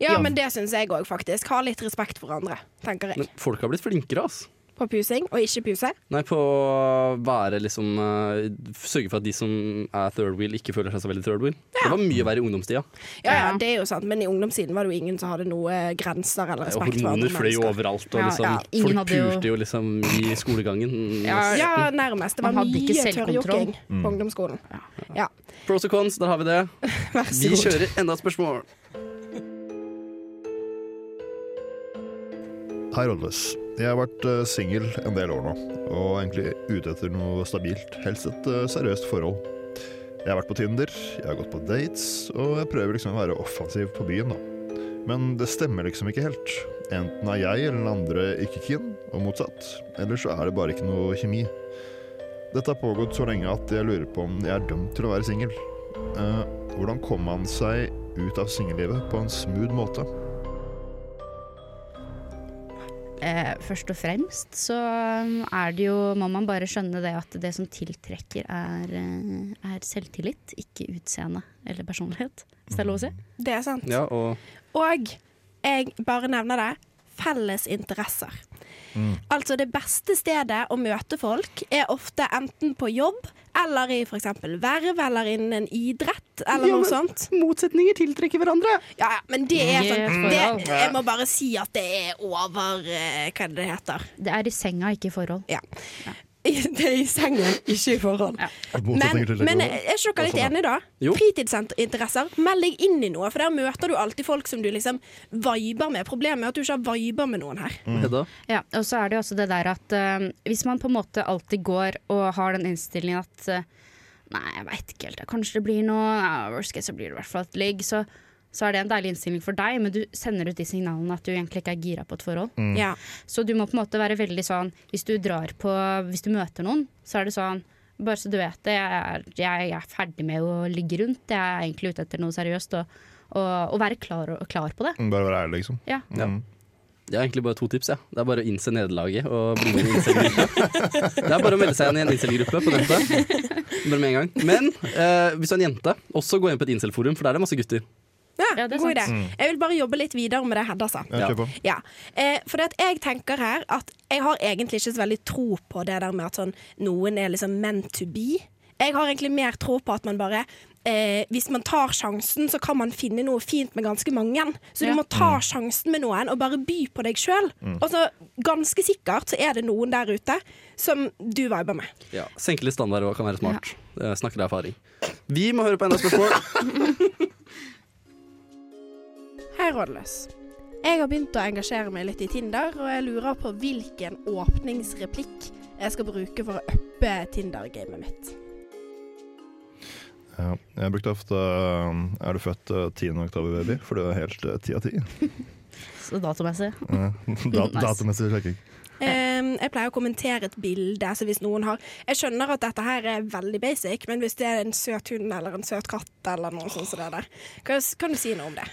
Speaker 5: Ja, men det syns jeg òg, faktisk. Ha litt respekt for hverandre, tenker jeg.
Speaker 1: Men folk har blitt flinkere, altså.
Speaker 5: På pusing og ikke puse.
Speaker 1: Nei, på å være liksom eh, Sørge for at de som er third wheel, ikke føler seg så veldig third wheel. Det var mye verre i ungdomstida.
Speaker 5: Ja, ja, det er jo sant, men i ungdomstiden var det jo ingen som hadde noe eh, grenser eller
Speaker 1: Og
Speaker 5: respekt for andre
Speaker 1: hormoner fløy jo
Speaker 5: mennesker.
Speaker 1: overalt, og
Speaker 3: Ja,
Speaker 1: liksom
Speaker 5: ja.
Speaker 3: Ingen
Speaker 1: Folk
Speaker 3: hadde jo-
Speaker 1: pulte jo liksom i skolegangen.
Speaker 3: Ja,
Speaker 5: Ja, nærmest. Det var
Speaker 3: Man hadde ikke
Speaker 5: mye
Speaker 3: selvkontroll.
Speaker 5: tørrjokking
Speaker 4: Mm.
Speaker 5: på ungdomsskolen. Ja.
Speaker 1: Pros og cons, der har vi det.
Speaker 5: Vær så
Speaker 1: Vi
Speaker 5: god.
Speaker 1: kjører enda et spørsmål.
Speaker 4: Hei, Rådløs. Jeg har vært eh, singel en del år nå, og egentlig ute etter noe stabilt. Helst et eh, seriøst forhold. Jeg har vært på Tinder, jeg har gått på dates, og jeg prøver liksom å være offensiv på byen, da. Men det stemmer liksom ikke helt. Enten er jeg eller den andre ikke keen, og motsatt. Eller så er det bare ikke noe kjemi. Dette har pågått så lenge at jeg lurer på om jeg er dømt til å være singel. Eh, hvordan kommer man seg ut av singellivet på en smooth måte?
Speaker 3: Eh, først og fremst så um, er det jo Må man bare skjønne det at det som tiltrekker, er, eh, er selvtillit, ikke utseende eller personlighet. Hvis det er lov å si.
Speaker 5: Det er sant.
Speaker 1: Ja, og
Speaker 5: Og jeg bare nevner det felles interesser. Altså det beste stedet å møte folk er ofte enten på jobb eller i f.eks. verv eller innen idrett eller noe sånt.
Speaker 1: Motsetninger tiltrekker hverandre.
Speaker 5: Ja, ja, men det er
Speaker 3: Yes,
Speaker 5: sånn
Speaker 3: for
Speaker 5: det,
Speaker 3: all.
Speaker 5: Jeg må bare si at det er over eh, Hva er det det heter?
Speaker 3: Det er i senga, ikke i forhold.
Speaker 5: Ja. Det er i sengen, ikke i forhold. Men,
Speaker 4: Motsetninger til
Speaker 5: men
Speaker 4: hverandre.
Speaker 5: er ikke dere litt enige, da?
Speaker 1: Jo.
Speaker 5: Fritidsinteresser. Meld deg inn i noe, for der møter du alltid folk som du liksom viber med. Problemet er at du ikke har viber med noen her.
Speaker 1: Hedda?
Speaker 3: Ja, og så er det jo også det der at eh, hvis man på en måte alltid går og har den innstillingen at eh, Nei, jeg veit ikke helt, kanskje det blir noe. Ja, worst case så blir det i hvert fall et ligg. Så, så er det en deilig innstilling for deg, men du sender ut de signalene at du egentlig ikke er gira på et forhold.
Speaker 5: Ja.
Speaker 3: Så du må på en måte være veldig sånn Hvis du drar på Hvis du møter noen, så er det sånn Bare så du vet det, jeg er, jeg er ferdig med å ligge rundt. Jeg er egentlig ute etter noe seriøst. Og, og, og være klar, og, klar på det.
Speaker 4: Bare være ærlig, liksom.
Speaker 3: Ja.
Speaker 1: Jeg har egentlig bare to tips. Ja. Det er bare å innse nederlaget og bli med i en incel-gruppe. Det er bare å melde seg inn i en incel-gruppe på nettet. Bare med en gang. Men eh, hvis du er en jente, også gå inn på et incel-forum, for der er det masse gutter.
Speaker 5: Ja,
Speaker 3: Ja, det er
Speaker 5: god idé.
Speaker 3: sant.
Speaker 5: Jeg vil bare jobbe litt videre med det Hedda sa.
Speaker 4: Ja,
Speaker 1: Ja.
Speaker 4: kjør på.
Speaker 5: Mm. Ja. Eh, for det at jeg tenker her at jeg har egentlig ikke så veldig tro på det der med at sånn, noen er liksom meant to be. Jeg har egentlig mer tro på at man bare eh, Hvis man tar sjansen, så kan man finne noe fint med ganske mange. Så
Speaker 3: Ja.
Speaker 5: du må ta sjansen med noen og bare by på deg sjøl. Og så ganske sikkert så er det noen der ute som du viber med.
Speaker 1: Ja. Senke litt standard og kan være smart. Eh, Snakker av erfaring. Vi må høre på enda et spørsmål.
Speaker 5: Hei, rådløs. Jeg har begynt å engasjere meg litt i Tinder, og jeg lurer på hvilken åpningsreplikk jeg skal bruke for å uppe Tinder-gamet mitt.
Speaker 4: Ja, jeg brukte ofte eh, Er du født eh, 10. oktober, baby? For det var helt eh, 10 av 10.
Speaker 3: Så datomessig.
Speaker 4: Eh, Dat
Speaker 3: Nice.
Speaker 4: Datamessig sjekking.
Speaker 5: Ehm, jeg pleier å kommentere et bilde. Så hvis noen har Jeg skjønner at dette her er veldig basic, men hvis det er en søt hund eller en søt katt eller noe sånt som det der, kan, kan du si noe om det?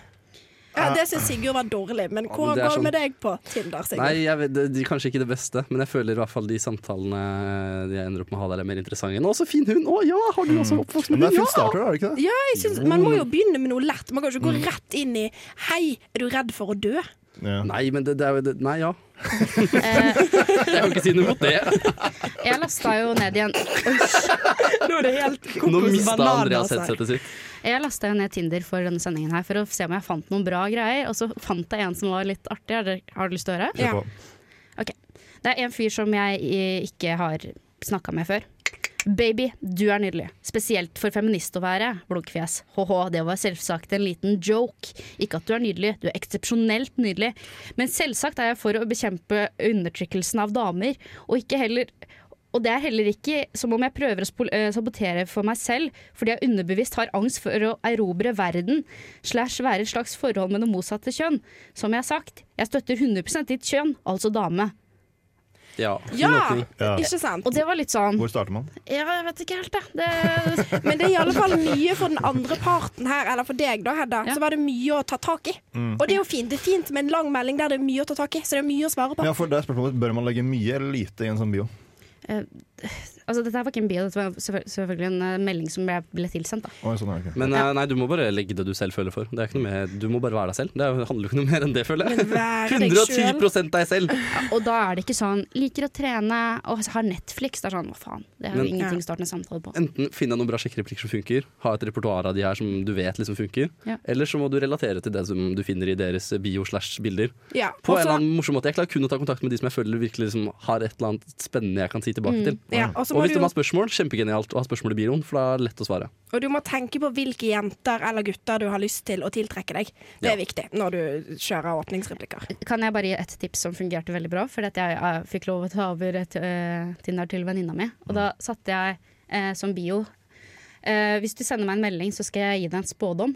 Speaker 5: Ja, det syns Sigurd var dårlig, men
Speaker 1: Ja,
Speaker 5: hvor
Speaker 1: men det er
Speaker 5: går det
Speaker 1: sånn-
Speaker 5: med deg på Tinder, Sigurd?
Speaker 1: Nei, jeg vet, det, det er kanskje ikke det beste, men jeg føler i hvert fall de samtalene jeg ender opp med å ha der, er mer interessante. enn, Å, så fin hund! Å ja, har du også oppvokst
Speaker 4: Men
Speaker 1: med
Speaker 4: det er
Speaker 1: hund?
Speaker 4: fin
Speaker 1: Ja!
Speaker 4: starter, er det ikke det?
Speaker 5: Ja, jeg synes, Man må jo begynne med noe lett. Man kan jo
Speaker 1: Mm.
Speaker 5: ikke gå rett inn i 'Hei, er du redd for å dø?'
Speaker 4: Ja.
Speaker 1: Nei, men det, det er jo det, Nei, ja. jeg kan ikke si noe mot det.
Speaker 3: Jeg lasta jo ned igjen Oi,
Speaker 7: Nå er det helt
Speaker 1: Nå
Speaker 7: kokos altså.
Speaker 1: mista
Speaker 7: bananas
Speaker 1: Andreas
Speaker 7: her.
Speaker 1: headsetet sitt.
Speaker 3: Jeg lasta jo ned Tinder for denne sendingen her for å se om jeg fant noen bra greier. Og så fant jeg en som var litt artig. Har dere- Har du lyst til å høre?
Speaker 5: Ja.
Speaker 3: Det er en fyr som jeg eh, ikke har snakka med før. Baby, du er nydelig. Spesielt for feminist å være. Blunkfjes. Hå-hå, det var selvsagt en liten joke. Ikke at du er nydelig, du er eksepsjonelt nydelig. Men selvsagt er jeg for å bekjempe undertrykkelsen av damer, og ikke heller og det er heller ikke som om jeg prøver å spol- eh, sabotere for meg selv, fordi jeg underbevisst har angst for å erobre verden, slash være et slags forhold med det motsatte kjønn. Som jeg har sagt, jeg støtter 100 ditt kjønn, altså dame.
Speaker 1: Ja. fin
Speaker 5: Ja,
Speaker 1: åpning.
Speaker 4: Ja.
Speaker 5: ikke sant?
Speaker 3: Og det var litt sånn
Speaker 4: Hvor starter man?
Speaker 3: Ja, jeg vet ikke helt, jeg. Det,
Speaker 5: Men det er i alle fall mye for den andre parten her, eller for deg da, Hedda.
Speaker 3: Ja.
Speaker 5: Så var det mye å ta tak i. Og det er jo fint. Det er fint med en lang melding der det er mye å ta tak i, så det er mye å svare på.
Speaker 4: Ja, for det er spørsmålet Bør man legge mye eller lite i en sånn bio?
Speaker 3: altså, dette her var ikke en bio, dette var selvfø- selvfølgelig en eh, melding som ble, ble tilsendt. Da.
Speaker 4: Oi, sånn er det ikke.
Speaker 1: Men eh, nei, du må bare legge det du selv føler for. Det er ikke noe mer, du må bare være deg selv. Det er jo- handler jo ikke noe mer enn det, føler jeg.
Speaker 5: Vær eh, deg selv.
Speaker 1: 110 deg selv!
Speaker 3: Og da er det ikke sånn 'liker å trene' og har Netflix. Det er sånn, hva faen. Det er jo
Speaker 1: Men-
Speaker 3: ingenting å starte en samtale på.
Speaker 1: Enten finn deg noen bra sjekkereplikker som funker, ha et repertoar av de her som du vet liksom funker,
Speaker 3: Ja.
Speaker 1: eller så må du relatere til det som du finner i deres bio slash bilder.
Speaker 5: Ja.
Speaker 1: På
Speaker 5: og
Speaker 1: en
Speaker 5: så-
Speaker 1: eller annen morsom måte. Jeg klarer kun å ta kontakt med de som jeg føler virkelig liksom har et eller annet spennende jeg kan si tilbake til.
Speaker 5: Mm. Ja, og så
Speaker 1: Og
Speaker 5: må
Speaker 1: hvis
Speaker 5: du,
Speaker 1: de
Speaker 5: jo-
Speaker 1: har spørsmål, kjempegenialt å ha spørsmål i bioen, for da er det lett å svare.
Speaker 5: og du må tenke på hvilke jenter eller gutter du har lyst til å tiltrekke deg. Det er viktig når du kjører åpningsreplikker.
Speaker 3: Kan jeg bare gi et tips som fungerte veldig bra? Fordi at jeg, eh, fikk lov å ta over et, eh, Tinder til venninna mi. Og da satte jeg eh, som bio eh, Hvis du sender meg en melding, så skal jeg gi deg en spådom.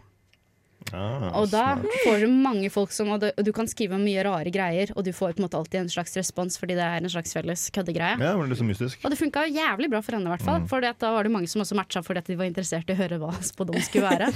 Speaker 4: Ah,
Speaker 3: Og da
Speaker 4: smart.
Speaker 3: får du mange folk som Og du, og du kan skrive om mye rare greier, og du får på en måte alltid en slags respons fordi det er en slags felles køddegreie.
Speaker 4: Ja, det var litt så mystisk.
Speaker 3: Og det funka jævlig bra for henne, i hvert fall. For da var det mange som også matcha fordi at de var interessert i å høre hva spådom skulle være.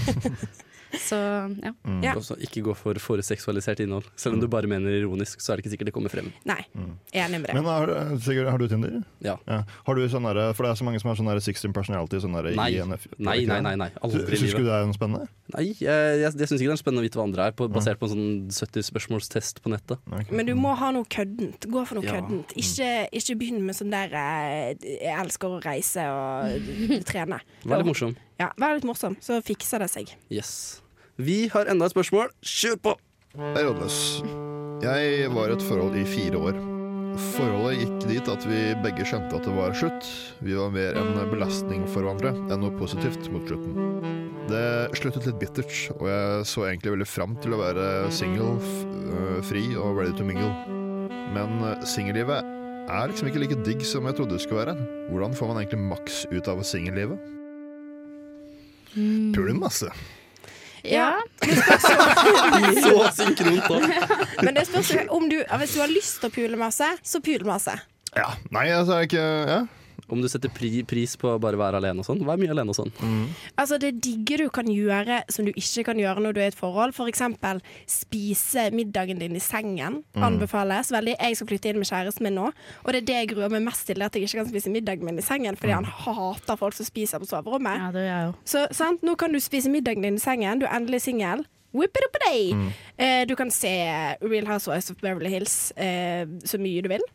Speaker 3: Så ja.
Speaker 5: Ja.
Speaker 1: Og så ikke gå for foreseksualisert innhold. Selv om du bare mener ironisk, så er det ikke sikkert det kommer frem.
Speaker 5: Nei, enig med det.
Speaker 4: Men har, Sigurd, har du Tinder?
Speaker 1: Ja.
Speaker 4: Ja. Har du sånn derre- for det er så mange som har sånn derre 16 personality. Sånn derre
Speaker 1: Nei.
Speaker 4: INF
Speaker 1: Nei, nei, nei. nei. Aldri i
Speaker 4: Syns du
Speaker 1: livet.
Speaker 4: det er noe spennende?
Speaker 1: Nei, jeg, jeg, jeg syns ikke det er spennende å vite hva andre er, på, basert på en sånn 70 spørsmålstest på nettet.
Speaker 4: Nei, ok.
Speaker 5: Men du må ha noe køddent. Gå for noe
Speaker 1: Ja.
Speaker 5: køddent. Ikke, ikke begynn med sånn der eh, 'jeg elsker å reise og trene'.
Speaker 1: Veldig morsom.
Speaker 5: Ja, Vær litt morsom, så fikser det seg.
Speaker 1: Yes. Vi har enda et spørsmål. Kjør på!
Speaker 4: Jeg er rådløs. Jeg var i et forhold i fire år. Forholdet gikk dit at vi begge skjønte at det var slutt. Vi var mer en belastning for hverandre enn noe positivt mot slutten. Det sluttet litt bittert, og jeg så egentlig veldig fram til å være singel, f- øh, fri og ready to mingle. Men øh, singellivet er liksom ikke like digg som jeg trodde det skulle være. Hvordan får man egentlig maks ut av singellivet? altså. Puler masse.
Speaker 3: ja.
Speaker 1: Så synkront òg.
Speaker 5: Men det spørs jo om du Hvis du har lyst til å pule masse, så pul masse.
Speaker 4: Ja. Nei, altså, er det ikke Ja.
Speaker 1: Om du setter pri pris på å bare være alene og sånn. Vær mye alene og sånn.
Speaker 5: Altså Det digge du kan gjøre som du ikke kan gjøre når du er i et forhold, f.eks. spise middagen din i sengen, anbefales veldig. Jeg skal flytte inn med kjæresten min nå, og det er det jeg gruer meg mest til. det er At jeg ikke kan spise middagen min i sengen fordi han hater folk som spiser på soverommet.
Speaker 3: det gjør jeg jo.
Speaker 5: Så sant, nå kan du spise middagen din i sengen, du er endelig singel. Whip it up a day!
Speaker 4: Mm.
Speaker 5: Eh, du kan se Real Housewives of Beverly Hills eh, så mye du vil.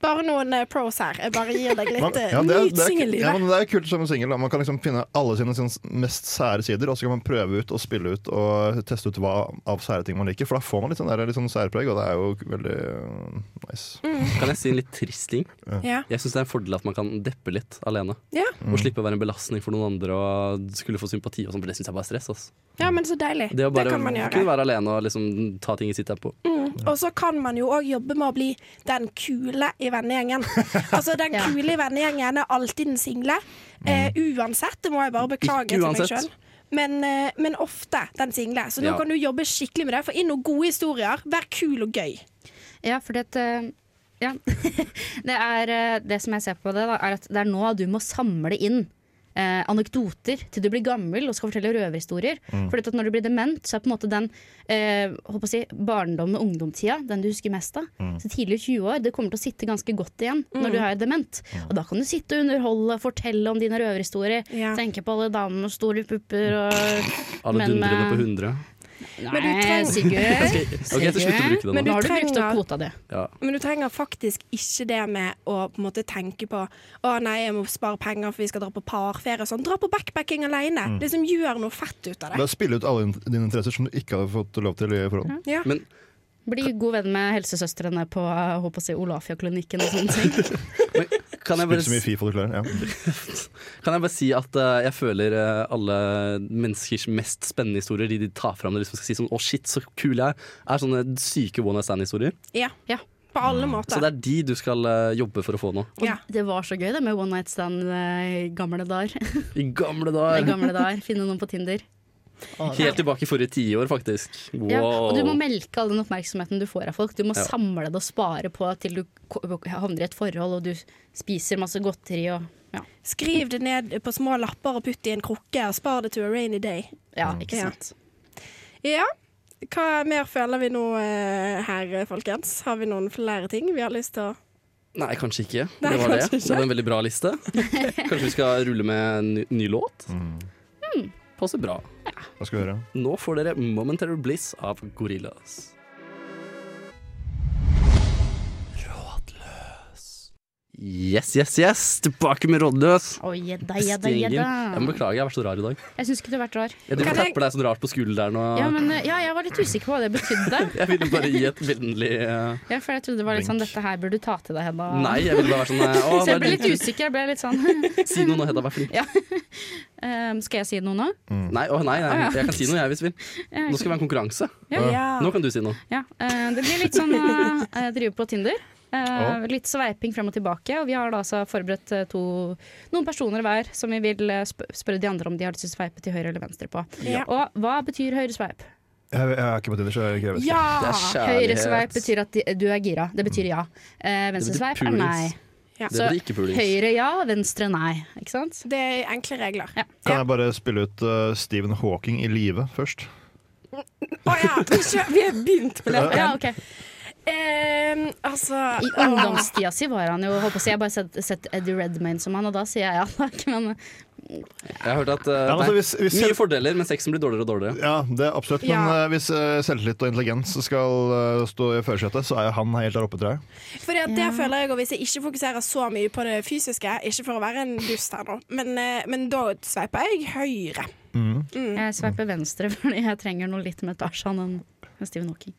Speaker 5: Bare noen eh, pros her. Jeg bare gir deg litt
Speaker 4: Mm.
Speaker 5: eh,
Speaker 4: ja, det, er-
Speaker 5: Nyt
Speaker 4: det, er, ja,
Speaker 5: singellivet.
Speaker 4: men det er kult som en singel. da. Man kan liksom finne alle sine, sine mest sære sider, og så kan man prøve ut og spille ut og teste ut hva av sære ting man liker. For da får man litt sånn, der, litt sånn særpreg, og det er jo veldig øh, nice.
Speaker 5: Mm.
Speaker 1: Kan jeg si en litt trist ting?
Speaker 5: Ja.
Speaker 1: Jeg syns det er en fordel at man kan deppe litt alene.
Speaker 5: Ja.
Speaker 1: Og slippe å være en belastning for noen andre og skulle få sympati og sånn, for det syns jeg bare er stress. ass.
Speaker 5: ja, men så deilig.
Speaker 1: Det
Speaker 5: Det,
Speaker 1: å bare
Speaker 5: kan man gjøre.
Speaker 1: kunne være alene og liksom ta ting i sitt tempo.
Speaker 5: Og så kan man jo òg jobbe med å bli den kule i vennegjengen. Altså, den
Speaker 3: Ja.
Speaker 5: kule i vennegjengen er alltid den single. Eh, uansett, det må jeg bare
Speaker 1: Mm. Ikke
Speaker 5: beklage til meg
Speaker 1: uansett.
Speaker 5: sjøl. Men, eh, men ofte den single. Så nå
Speaker 1: Ja.
Speaker 5: kan du jobbe skikkelig med det. Få inn noen gode historier. Vær kul og gøy.
Speaker 3: Ja, fordi at eh, ja. det, er, eh, det som jeg ser på det, da, er at det er nå du må samle inn eh, anekdoter til du blir gammel og skal fortelle røverhistorier.
Speaker 1: Mm.
Speaker 3: For at når du blir dement, så er på en måte den eh, håper å si, barndom og ungdomstida den du husker mest av.
Speaker 1: Mm.
Speaker 3: Så tidlig i 20 år, det kommer til å sitte ganske godt igjen når
Speaker 5: Mm.
Speaker 3: du er dement.
Speaker 1: Mm.
Speaker 3: Og da kan du sitte og underholde, fortelle om dine røverhistorier.
Speaker 5: Ja.
Speaker 3: Tenke på alle damene med store pupper og
Speaker 1: Alle
Speaker 3: Men,
Speaker 1: dundrene
Speaker 3: eh,
Speaker 1: på 100.
Speaker 5: Men du
Speaker 3: Nei,
Speaker 5: trenger-
Speaker 1: Jeg
Speaker 3: Sigurd.
Speaker 1: skal, ok, jeg skal slutte å bruke det nå.
Speaker 5: Men du
Speaker 3: Nå har du brukt
Speaker 5: trenger-
Speaker 3: opp kvota di.
Speaker 1: Ja.
Speaker 5: Men du trenger faktisk ikke det med å på en måte tenke på Å nei, jeg må spare penger for vi skal dra på parferie og sånn. Dra på backpacking alene.
Speaker 1: Mm.
Speaker 5: Liksom gjør noe fett ut av
Speaker 4: La
Speaker 5: det.
Speaker 4: oss spille ut alle in- dine interesser som du ikke hadde fått lov til i forhånd.
Speaker 5: Ja.
Speaker 1: Men
Speaker 3: Bli god venn med helsesøstrene på eh, håper å si, Olafia-klinikken og sånne ting.
Speaker 1: kan jeg
Speaker 4: Spill
Speaker 1: bare
Speaker 4: så mye Fifa du klarer. Ja.
Speaker 1: Kan jeg bare si at eh, jeg føler eh, alle menneskers mest spennende historier, de de tar fram og liksom skal si sånn 'å, shit, så kul jeg er', er sånne syke one night stand-historier.
Speaker 5: Ja.
Speaker 3: Ja.
Speaker 5: På alle
Speaker 1: Mm. Så
Speaker 5: måter.
Speaker 1: det er de du skal eh, jobbe for å få nå.
Speaker 5: Ja.
Speaker 3: Det var så gøy det med one night stand eh, i gamle dager.
Speaker 1: I gamle
Speaker 3: I
Speaker 1: dager!
Speaker 3: gamle dager, Finne noen på Tinder.
Speaker 1: Helt tilbake i forrige tiår, faktisk. Wow.
Speaker 3: Ja, og du må melke all den oppmerksomheten du får av folk. Du må
Speaker 1: Ja.
Speaker 3: samle det og spare på til du ko- havner i et forhold og du spiser masse godteri og ja.
Speaker 5: Skriv det ned på små lapper og putt i en krukke, og spar det to a rainy day.
Speaker 3: ja,
Speaker 1: Mm.
Speaker 3: ikke
Speaker 5: Ja.
Speaker 3: sant.
Speaker 5: Ja. Hva mer føler vi nå eh, her, folkens? Har vi noen flere ting vi har lyst til å
Speaker 1: Nei, kanskje ikke.
Speaker 5: Nei,
Speaker 1: Det var det.
Speaker 5: kanskje ikke.
Speaker 1: Det var en veldig bra liste. Kanskje vi skal rulle med en ny, ny låt? Passer bra.
Speaker 4: Mm. Hva skal vi høre?
Speaker 1: Nå får dere 'Momentary Bliss' av Gorillas. Rådløs. Yes, yes, yes! Tilbake med Rådløs.
Speaker 3: Å, gjedda,
Speaker 1: Beste
Speaker 3: gjedda,
Speaker 1: gjengen. Jeg må
Speaker 3: gjedda.
Speaker 1: beklage, jeg har vært så rar i dag.
Speaker 3: Jeg syns ikke du har vært rar.
Speaker 1: Jeg driver og
Speaker 5: Kan jeg-
Speaker 1: tapper deg sånn rart på skulderen og
Speaker 3: Ja, men, eh, ja, jeg var litt usikker på hva det betydde.
Speaker 1: Jeg ville bare gi et vennlig eh,
Speaker 3: Ja, for jeg trodde det var litt sånn
Speaker 4: Blink.
Speaker 3: Dette her burde du ta til deg, Hedda.
Speaker 1: Nei, jeg ville bare være sånn eh, Å,
Speaker 3: Så
Speaker 1: det
Speaker 3: jeg
Speaker 1: er
Speaker 3: ble litt
Speaker 1: litt
Speaker 3: usikker. Jeg ble litt sånn
Speaker 1: Si noe nå, Hedda. Vær flink.
Speaker 3: ehm, Skal jeg si noe nå?
Speaker 4: Mm.
Speaker 1: Nei, å, nei, nei,
Speaker 3: Å, ja.
Speaker 1: jeg kan si noe, jeg, hvis du vil.
Speaker 3: Ja, Ah.
Speaker 1: Nå skal det være en konkurranse.
Speaker 5: Ja.
Speaker 1: Nå kan du si noe.
Speaker 3: Ja, eh, det blir litt sånn eh, jeg driver på Tinder. Eh,
Speaker 4: Ja.
Speaker 3: litt sveiping frem og tilbake. Og vi har da altså forberedt eh, to, noen personer hver som vi vil eh, sp spørre de andre om de har lyst til å sveipe til høyre eller venstre på.
Speaker 5: Ja.
Speaker 3: Og hva betyr høyre sveip?
Speaker 4: Jeg, jeg er ikke på Tinder, så jeg krever ikke.
Speaker 5: Ja!
Speaker 1: Det er
Speaker 3: Høyre
Speaker 1: kjærlighet.
Speaker 3: sveip Ah. betyr at de, du er gira. Det betyr ja. Eh,
Speaker 1: Det
Speaker 3: venstre
Speaker 1: betyr
Speaker 3: sveip er nei.
Speaker 1: pulings.
Speaker 5: Ja.
Speaker 1: Det betyr ikke pulings.
Speaker 3: altså Høyre ja, venstre nei. Ikke sant?
Speaker 5: Det er enkle regler.
Speaker 3: Ja.
Speaker 4: Kan jeg bare spille ut eh, Stephen Hawking i live først?
Speaker 5: Å ja! Ikke, vi har begynt med det.
Speaker 3: Ja, ok.
Speaker 5: Ehm, altså
Speaker 3: I ungdomstida si var han jo holdt på å si, Jeg har bare sett, sett Eddie Redmayne som han, og da sier jeg ja takk. Men
Speaker 1: Jeg har hørt at eh,
Speaker 4: Ja, men altså,
Speaker 1: nei,
Speaker 4: hvis, hvis
Speaker 1: Mye fordeler, men sexen blir dårligere og dårligere.
Speaker 4: ja, det er absolutt. Men
Speaker 5: Ja.
Speaker 4: eh, hvis eh, selvtillit og intelligens skal eh, stå i førersetet, så er jo han helt der oppe, tror jeg.
Speaker 5: Fordi at det føler jeg, og Hvis jeg ikke fokuserer så mye på det fysiske, ikke for å være en dust her nå, men, eh, men da sveiper jeg høyre.
Speaker 3: jeg sveiper venstre fordi jeg trenger noe litt med Tarzan enn enn Stephen Hawking.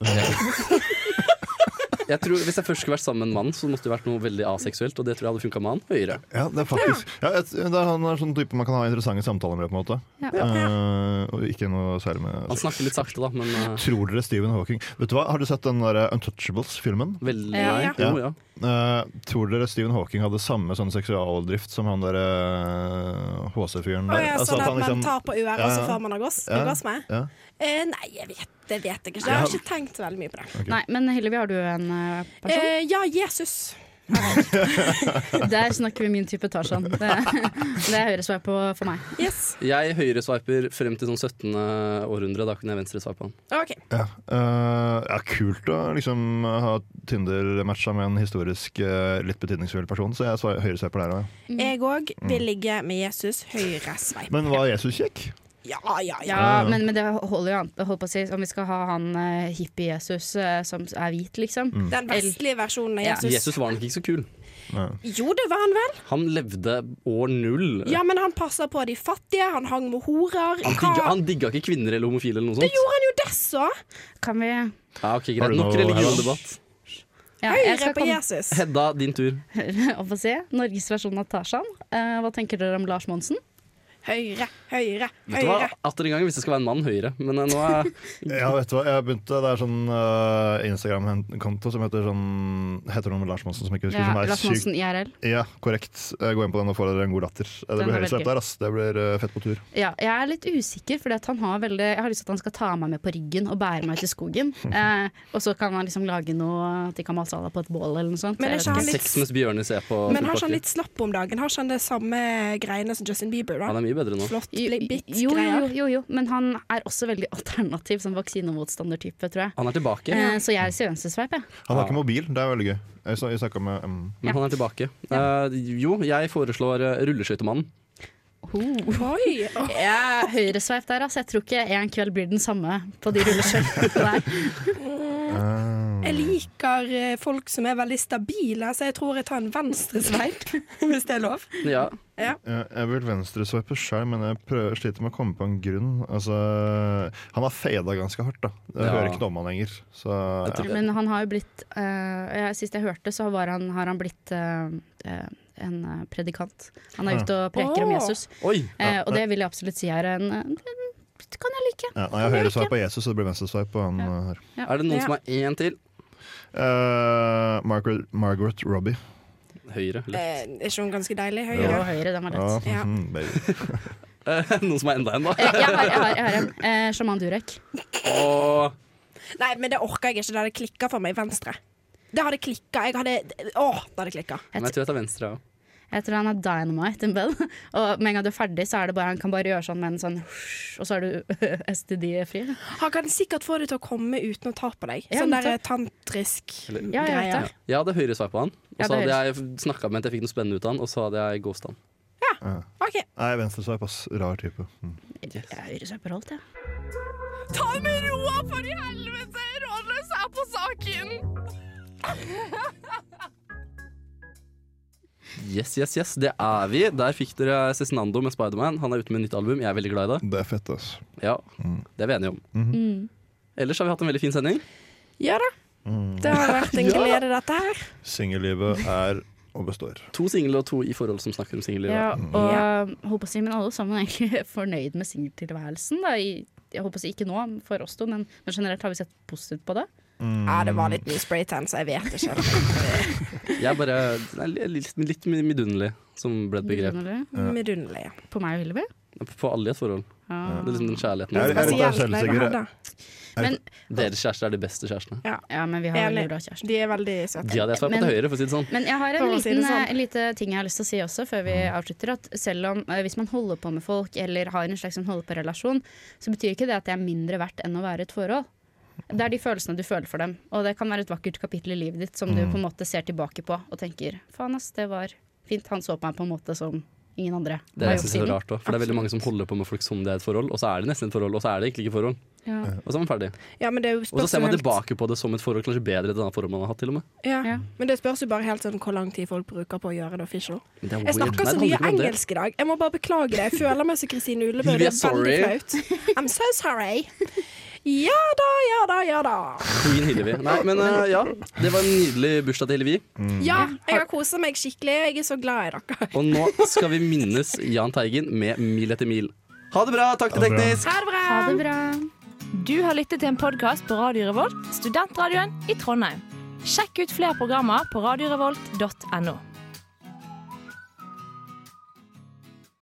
Speaker 1: Jeg tror, Hvis jeg først skulle vært sammen med en mann, så måtte det vært noe veldig aseksuelt. Og det tror jeg hadde funka med han høyere.
Speaker 4: Ja, det er faktisk ja, et, det er, Han er sånn type man kan ha interessante samtaler med, på en måte.
Speaker 3: Ja.
Speaker 4: Eh, og ikke noe særlig med
Speaker 1: Han snakker litt sakte, da, men eh,
Speaker 4: Tror dere Stephen Hawking Vet du hva, Har du sett den der Untouchables-filmen?
Speaker 1: veldig
Speaker 3: Ja,
Speaker 1: nei.
Speaker 5: ja.
Speaker 1: Jo, ja.
Speaker 4: Eh, tror dere Stephen Hawking hadde samme sånn seksualdrift som han der eh, HC-fyren
Speaker 5: Og
Speaker 4: der?
Speaker 5: jeg,
Speaker 4: Altså,
Speaker 5: sånn at man
Speaker 4: liksom-
Speaker 5: tar på uret
Speaker 4: Ja, ja.
Speaker 5: også før man har gåss-
Speaker 4: Ja.
Speaker 5: orgasme.
Speaker 4: ja.
Speaker 5: Eh, nei, jeg vet, det vet jeg ikke. Jeg har ikke tenkt så veldig mye på det.
Speaker 4: Ok.
Speaker 3: Nei, men Hillevi, har du en eh, person?
Speaker 5: Eh, ja, Jesus.
Speaker 3: Der snakker vi min type Tarzan. Det, det er høyre svar på for meg.
Speaker 5: Yes.
Speaker 1: Jeg høyresveiper frem til sånn 17. århundre. Da kunne jeg venstresveipe han.
Speaker 5: OK.
Speaker 4: Ja. Eh, ja, kult å liksom ha Tinder-matcha med en historisk eh, litt betydningsfull person, så jeg svar- høyre ser på der òg.
Speaker 3: Mm.
Speaker 5: Jeg òg vil ligge med Jesus høyre sveip.
Speaker 4: Men var Jesus kjekk?
Speaker 5: Ja, ja, ja.
Speaker 3: Ja, men, men det holder jo an holdt på å si, om vi skal ha han eh, hippie-Jesus eh, som er hvit, liksom.
Speaker 5: Den vestlige versjonen av
Speaker 3: Ja.
Speaker 5: Jesus.
Speaker 1: Jesus var nok ikke så kul.
Speaker 5: Jo, det var han vel.
Speaker 1: Han levde år null.
Speaker 5: Ja, Men han passa på de fattige, han hang med horer.
Speaker 1: Han digga, han digga ikke kvinner eller homofile eller noe sånt.
Speaker 5: gjorde han jo desså?
Speaker 3: Kan vi
Speaker 1: Ja, ok,
Speaker 4: Har
Speaker 1: greit. Nok
Speaker 4: du noe,
Speaker 1: religiøs
Speaker 4: Herman?
Speaker 1: debatt.
Speaker 3: ja, jeg
Speaker 5: Høyre
Speaker 3: skal
Speaker 5: på
Speaker 3: komme
Speaker 5: Jesus.
Speaker 1: Hedda, din tur.
Speaker 3: opp og se Norges versjon av Tarzan. Eh, hva tenker dere om Lars Monsen?
Speaker 5: høyre, høyre,
Speaker 1: Det var
Speaker 5: høyre.
Speaker 1: atter en gang hvis det skal være en mann høyere, men eh, nå er
Speaker 4: Ja, vet du hva, jeg begynte Det er sånn eh, Instagram-konto som heter sånn Heter noe med Lars Monsen som jeg ikke husker.
Speaker 3: Ja,
Speaker 4: som er
Speaker 3: Lars
Speaker 4: sykt-
Speaker 3: Monsen IRL.
Speaker 4: Ja, korrekt. Eh, Gå inn på den og få dere en god latter. Eh, Det
Speaker 3: Den
Speaker 4: blir
Speaker 3: er
Speaker 4: høyreslett
Speaker 3: veldig
Speaker 4: der, ass. Det blir eh, fett på tur.
Speaker 3: Ja, jeg er litt usikker, for jeg har lyst til at han skal ta meg med på ryggen og bære meg ut i skogen. Eh, og så kan han liksom lage noe til Kamasala på et bål eller noe sånt.
Speaker 5: Men er
Speaker 3: Jeg
Speaker 5: ikke
Speaker 3: vet
Speaker 5: han litt-
Speaker 1: sex mens bjørner ser på.
Speaker 5: Men har ikke han
Speaker 1: fullpakke.
Speaker 5: litt slapp om dagen? Har ikke han det samme greiene som Justin Bieber?
Speaker 1: Han
Speaker 5: Da?
Speaker 1: er mye bedre nå.
Speaker 5: Flott
Speaker 3: Jo, jo, jo,
Speaker 5: bit-greier.
Speaker 3: jo, jo, men han er også veldig alternativ som vaksinemotstandertype, tror jeg.
Speaker 1: Han er tilbake.
Speaker 3: Eh, så jeg sier venstresveip, jeg.
Speaker 4: Han har
Speaker 1: Ja.
Speaker 4: ikke mobil, det er veldig gøy. Jeg, så, jeg snakket med mm.
Speaker 1: Men
Speaker 3: Ja.
Speaker 1: han er tilbake. Eh, jo, jeg foreslår eh, rulleskøytemannen.
Speaker 3: Oh.
Speaker 5: Oi! å,
Speaker 3: Ja, høyresveip der, altså. Jeg tror ikke en kveld blir den samme på de rulleskøytene der.
Speaker 5: Jeg liker eh, folk som er veldig stabile, så jeg tror jeg tar en venstresveip, hvis det er lov.
Speaker 1: Ja.
Speaker 4: Jeg, jeg vil venstresveipe sjøl, men jeg prøver, sliter med å komme på en grunn. Altså, han har fada ganske hardt, da. Jeg
Speaker 1: Ja.
Speaker 4: hører ikke noe om han lenger. Så
Speaker 1: Jeg tror-
Speaker 4: ja.
Speaker 3: Men han har jo blitt eh, jeg, Sist jeg hørte, så var han, har han blitt eh, eh, en eh, predikant. Han er ute og preker om
Speaker 5: Åh.
Speaker 3: Jesus,
Speaker 1: Oi!
Speaker 3: eh, og det vil jeg absolutt si er en en- Det kan jeg like.
Speaker 4: Ja, nei, jeg hører sveip på Jesus, så det blir venstresveip på han eh, her.
Speaker 1: Er det noen
Speaker 5: Ja.
Speaker 1: som har én til?
Speaker 4: Eh, Margaret, Margaret Robbie.
Speaker 1: Høyre.
Speaker 5: Eh,
Speaker 1: Eller?
Speaker 5: Er ikke hun ganske deilig?
Speaker 3: Jo,
Speaker 5: Høyre.
Speaker 3: høyre, den var
Speaker 4: Ja,
Speaker 3: lett.
Speaker 5: Ja.
Speaker 4: mhm, baby.
Speaker 1: Eh, noen som er enda en, da?
Speaker 3: Eh, jeg, har, jeg, har, jeg har en. Eh, Sjaman Durek.
Speaker 1: Og
Speaker 5: Nei, men det orker jeg ikke. Det hadde klikka for meg venstre. Det hadde klikka. Jeg hadde Å, det hadde klikka.
Speaker 1: Men jeg tror jeg tar venstre. Ja.
Speaker 3: Jeg tror han er dynamite in bed. Og med en gang du er ferdig, så er det bare han kan bare gjøre sånn med en sånn Og så er du STD-fri.
Speaker 5: Han kan sikkert få det til å komme uten å ta på deg.
Speaker 3: Ja,
Speaker 5: Sånn
Speaker 3: men
Speaker 5: der tantrisk
Speaker 1: Eller-
Speaker 3: Ja, jeg vet
Speaker 5: greier.
Speaker 3: det.
Speaker 1: Jeg hadde høyresveip på han, og
Speaker 3: Ja,
Speaker 1: så
Speaker 3: det
Speaker 1: hadde jeg snakka med at jeg fikk noe spennende ut av han, og så hadde jeg ghosta han.
Speaker 5: OK.
Speaker 4: Nei, venstresveip, ass. Rar type. Mm.
Speaker 3: Jeg er høyresveip på alt, jeg.
Speaker 6: Ta det med roa, for i helvete! Rådløs er på saken!
Speaker 1: Yes, yes, yes, det er vi. Der fikk dere Cezinando med Spiderman. Han er ute med nytt album. Jeg er veldig glad i det.
Speaker 4: Det er fett, ass.
Speaker 1: Ja, Det er vi enige om.
Speaker 3: Mm.
Speaker 1: Ellers har vi hatt en veldig fin sending.
Speaker 5: Ja da. Det har vært en glede, dette her.
Speaker 4: Singellivet er og består.
Speaker 1: To single og to i forhold som snakker om singellivet.
Speaker 3: Ja, og håper å si, men alle sammen er egentlig fornøyd med singeltilværelsen. da, i- Jeg håper å si ikke nå, for oss to, men, men generelt har vi sett positivt på det.
Speaker 5: Ja, det var litt mye spraytan, så jeg vet ikke.
Speaker 1: Jeg er bare nei, litt, litt midunnelig, som ble et begrep.
Speaker 3: Eller?
Speaker 5: Midunnelig. ja.
Speaker 3: På meg og Hillevi.
Speaker 1: På alle i et forhold.
Speaker 3: Ja.
Speaker 1: Det er liksom den
Speaker 4: Jeg er-
Speaker 1: kjærligheten.
Speaker 4: jeg er litt av
Speaker 5: Spesielt med
Speaker 4: selvsikker.
Speaker 5: Hedda.
Speaker 1: Deres kjærester er de beste kjærestene.
Speaker 3: ja, men vi har
Speaker 5: Enig.
Speaker 3: veldig bra kjæreste.
Speaker 5: De er veldig søte.
Speaker 1: De hadde jeg sveipa
Speaker 3: Men-
Speaker 1: til høyre, for å si det sånn. Mm.
Speaker 3: Men jeg har en
Speaker 5: For å si det
Speaker 3: liten,
Speaker 5: sånn.
Speaker 3: eh, lite ting jeg har lyst til å si også, før vi avslutter. At selv om eh, hvis man holder på med folk, eller har en slags sånn holde-på-relasjon, så betyr ikke det at det er mindre verdt enn å være i et forhold. Det er de følelsene du føler for dem, og det kan være et vakkert kapittel i livet ditt som du
Speaker 1: Mm.
Speaker 3: på en måte ser tilbake på og tenker faen ass, det var fint. Han så på meg på en måte som ingen andre
Speaker 1: Det er,
Speaker 3: har
Speaker 1: jeg
Speaker 3: gjort
Speaker 1: synes det er
Speaker 3: siden.
Speaker 1: rart også, for det er veldig mange som holder på med folk som det er et forhold, og så er det nesten et forhold, og så er det egentlig ikke et forhold.
Speaker 3: Ja.
Speaker 1: Og så er man ferdig.
Speaker 5: Ja, men det er jo
Speaker 1: Og så
Speaker 5: spørs
Speaker 1: ser
Speaker 5: jo
Speaker 1: man
Speaker 5: helt-
Speaker 1: tilbake på det som et forhold, kanskje bedre enn det forholdet man har hatt, til og med.
Speaker 5: Ja.
Speaker 3: Ja.
Speaker 5: Men det spørs jo bare helt sånn hvor lang tid folk bruker på å gjøre det official.
Speaker 1: Men det er
Speaker 5: Jeg
Speaker 1: weird.
Speaker 5: snakker
Speaker 1: Nei,
Speaker 5: så
Speaker 1: det
Speaker 5: mye
Speaker 1: handler ikke om det.
Speaker 5: engelsk i dag. Jeg må bare beklage det. Jeg føler meg som Kristine Ullebø.
Speaker 1: Vi
Speaker 5: Det
Speaker 1: er
Speaker 5: er veldig
Speaker 1: sorry.
Speaker 5: flaut. I'm so sorry. Ja da, ja da, ja da.
Speaker 1: Queen Hillevi. Nei, men eh, ja. Det var en nydelig bursdag til Hillevi.
Speaker 5: Ja, jeg har kosa meg skikkelig. Jeg er så glad i dere.
Speaker 1: Og nå skal vi minnes Jahn Teigen med Mil etter mil. Ha det bra! Takk til Teknisk!
Speaker 5: Ha det bra.
Speaker 3: Ha det bra.
Speaker 9: Du har lyttet til en podkast på Radio Revolt, studentradioen i Trondheim. Sjekk ut flere programmer på radiorevolt.no.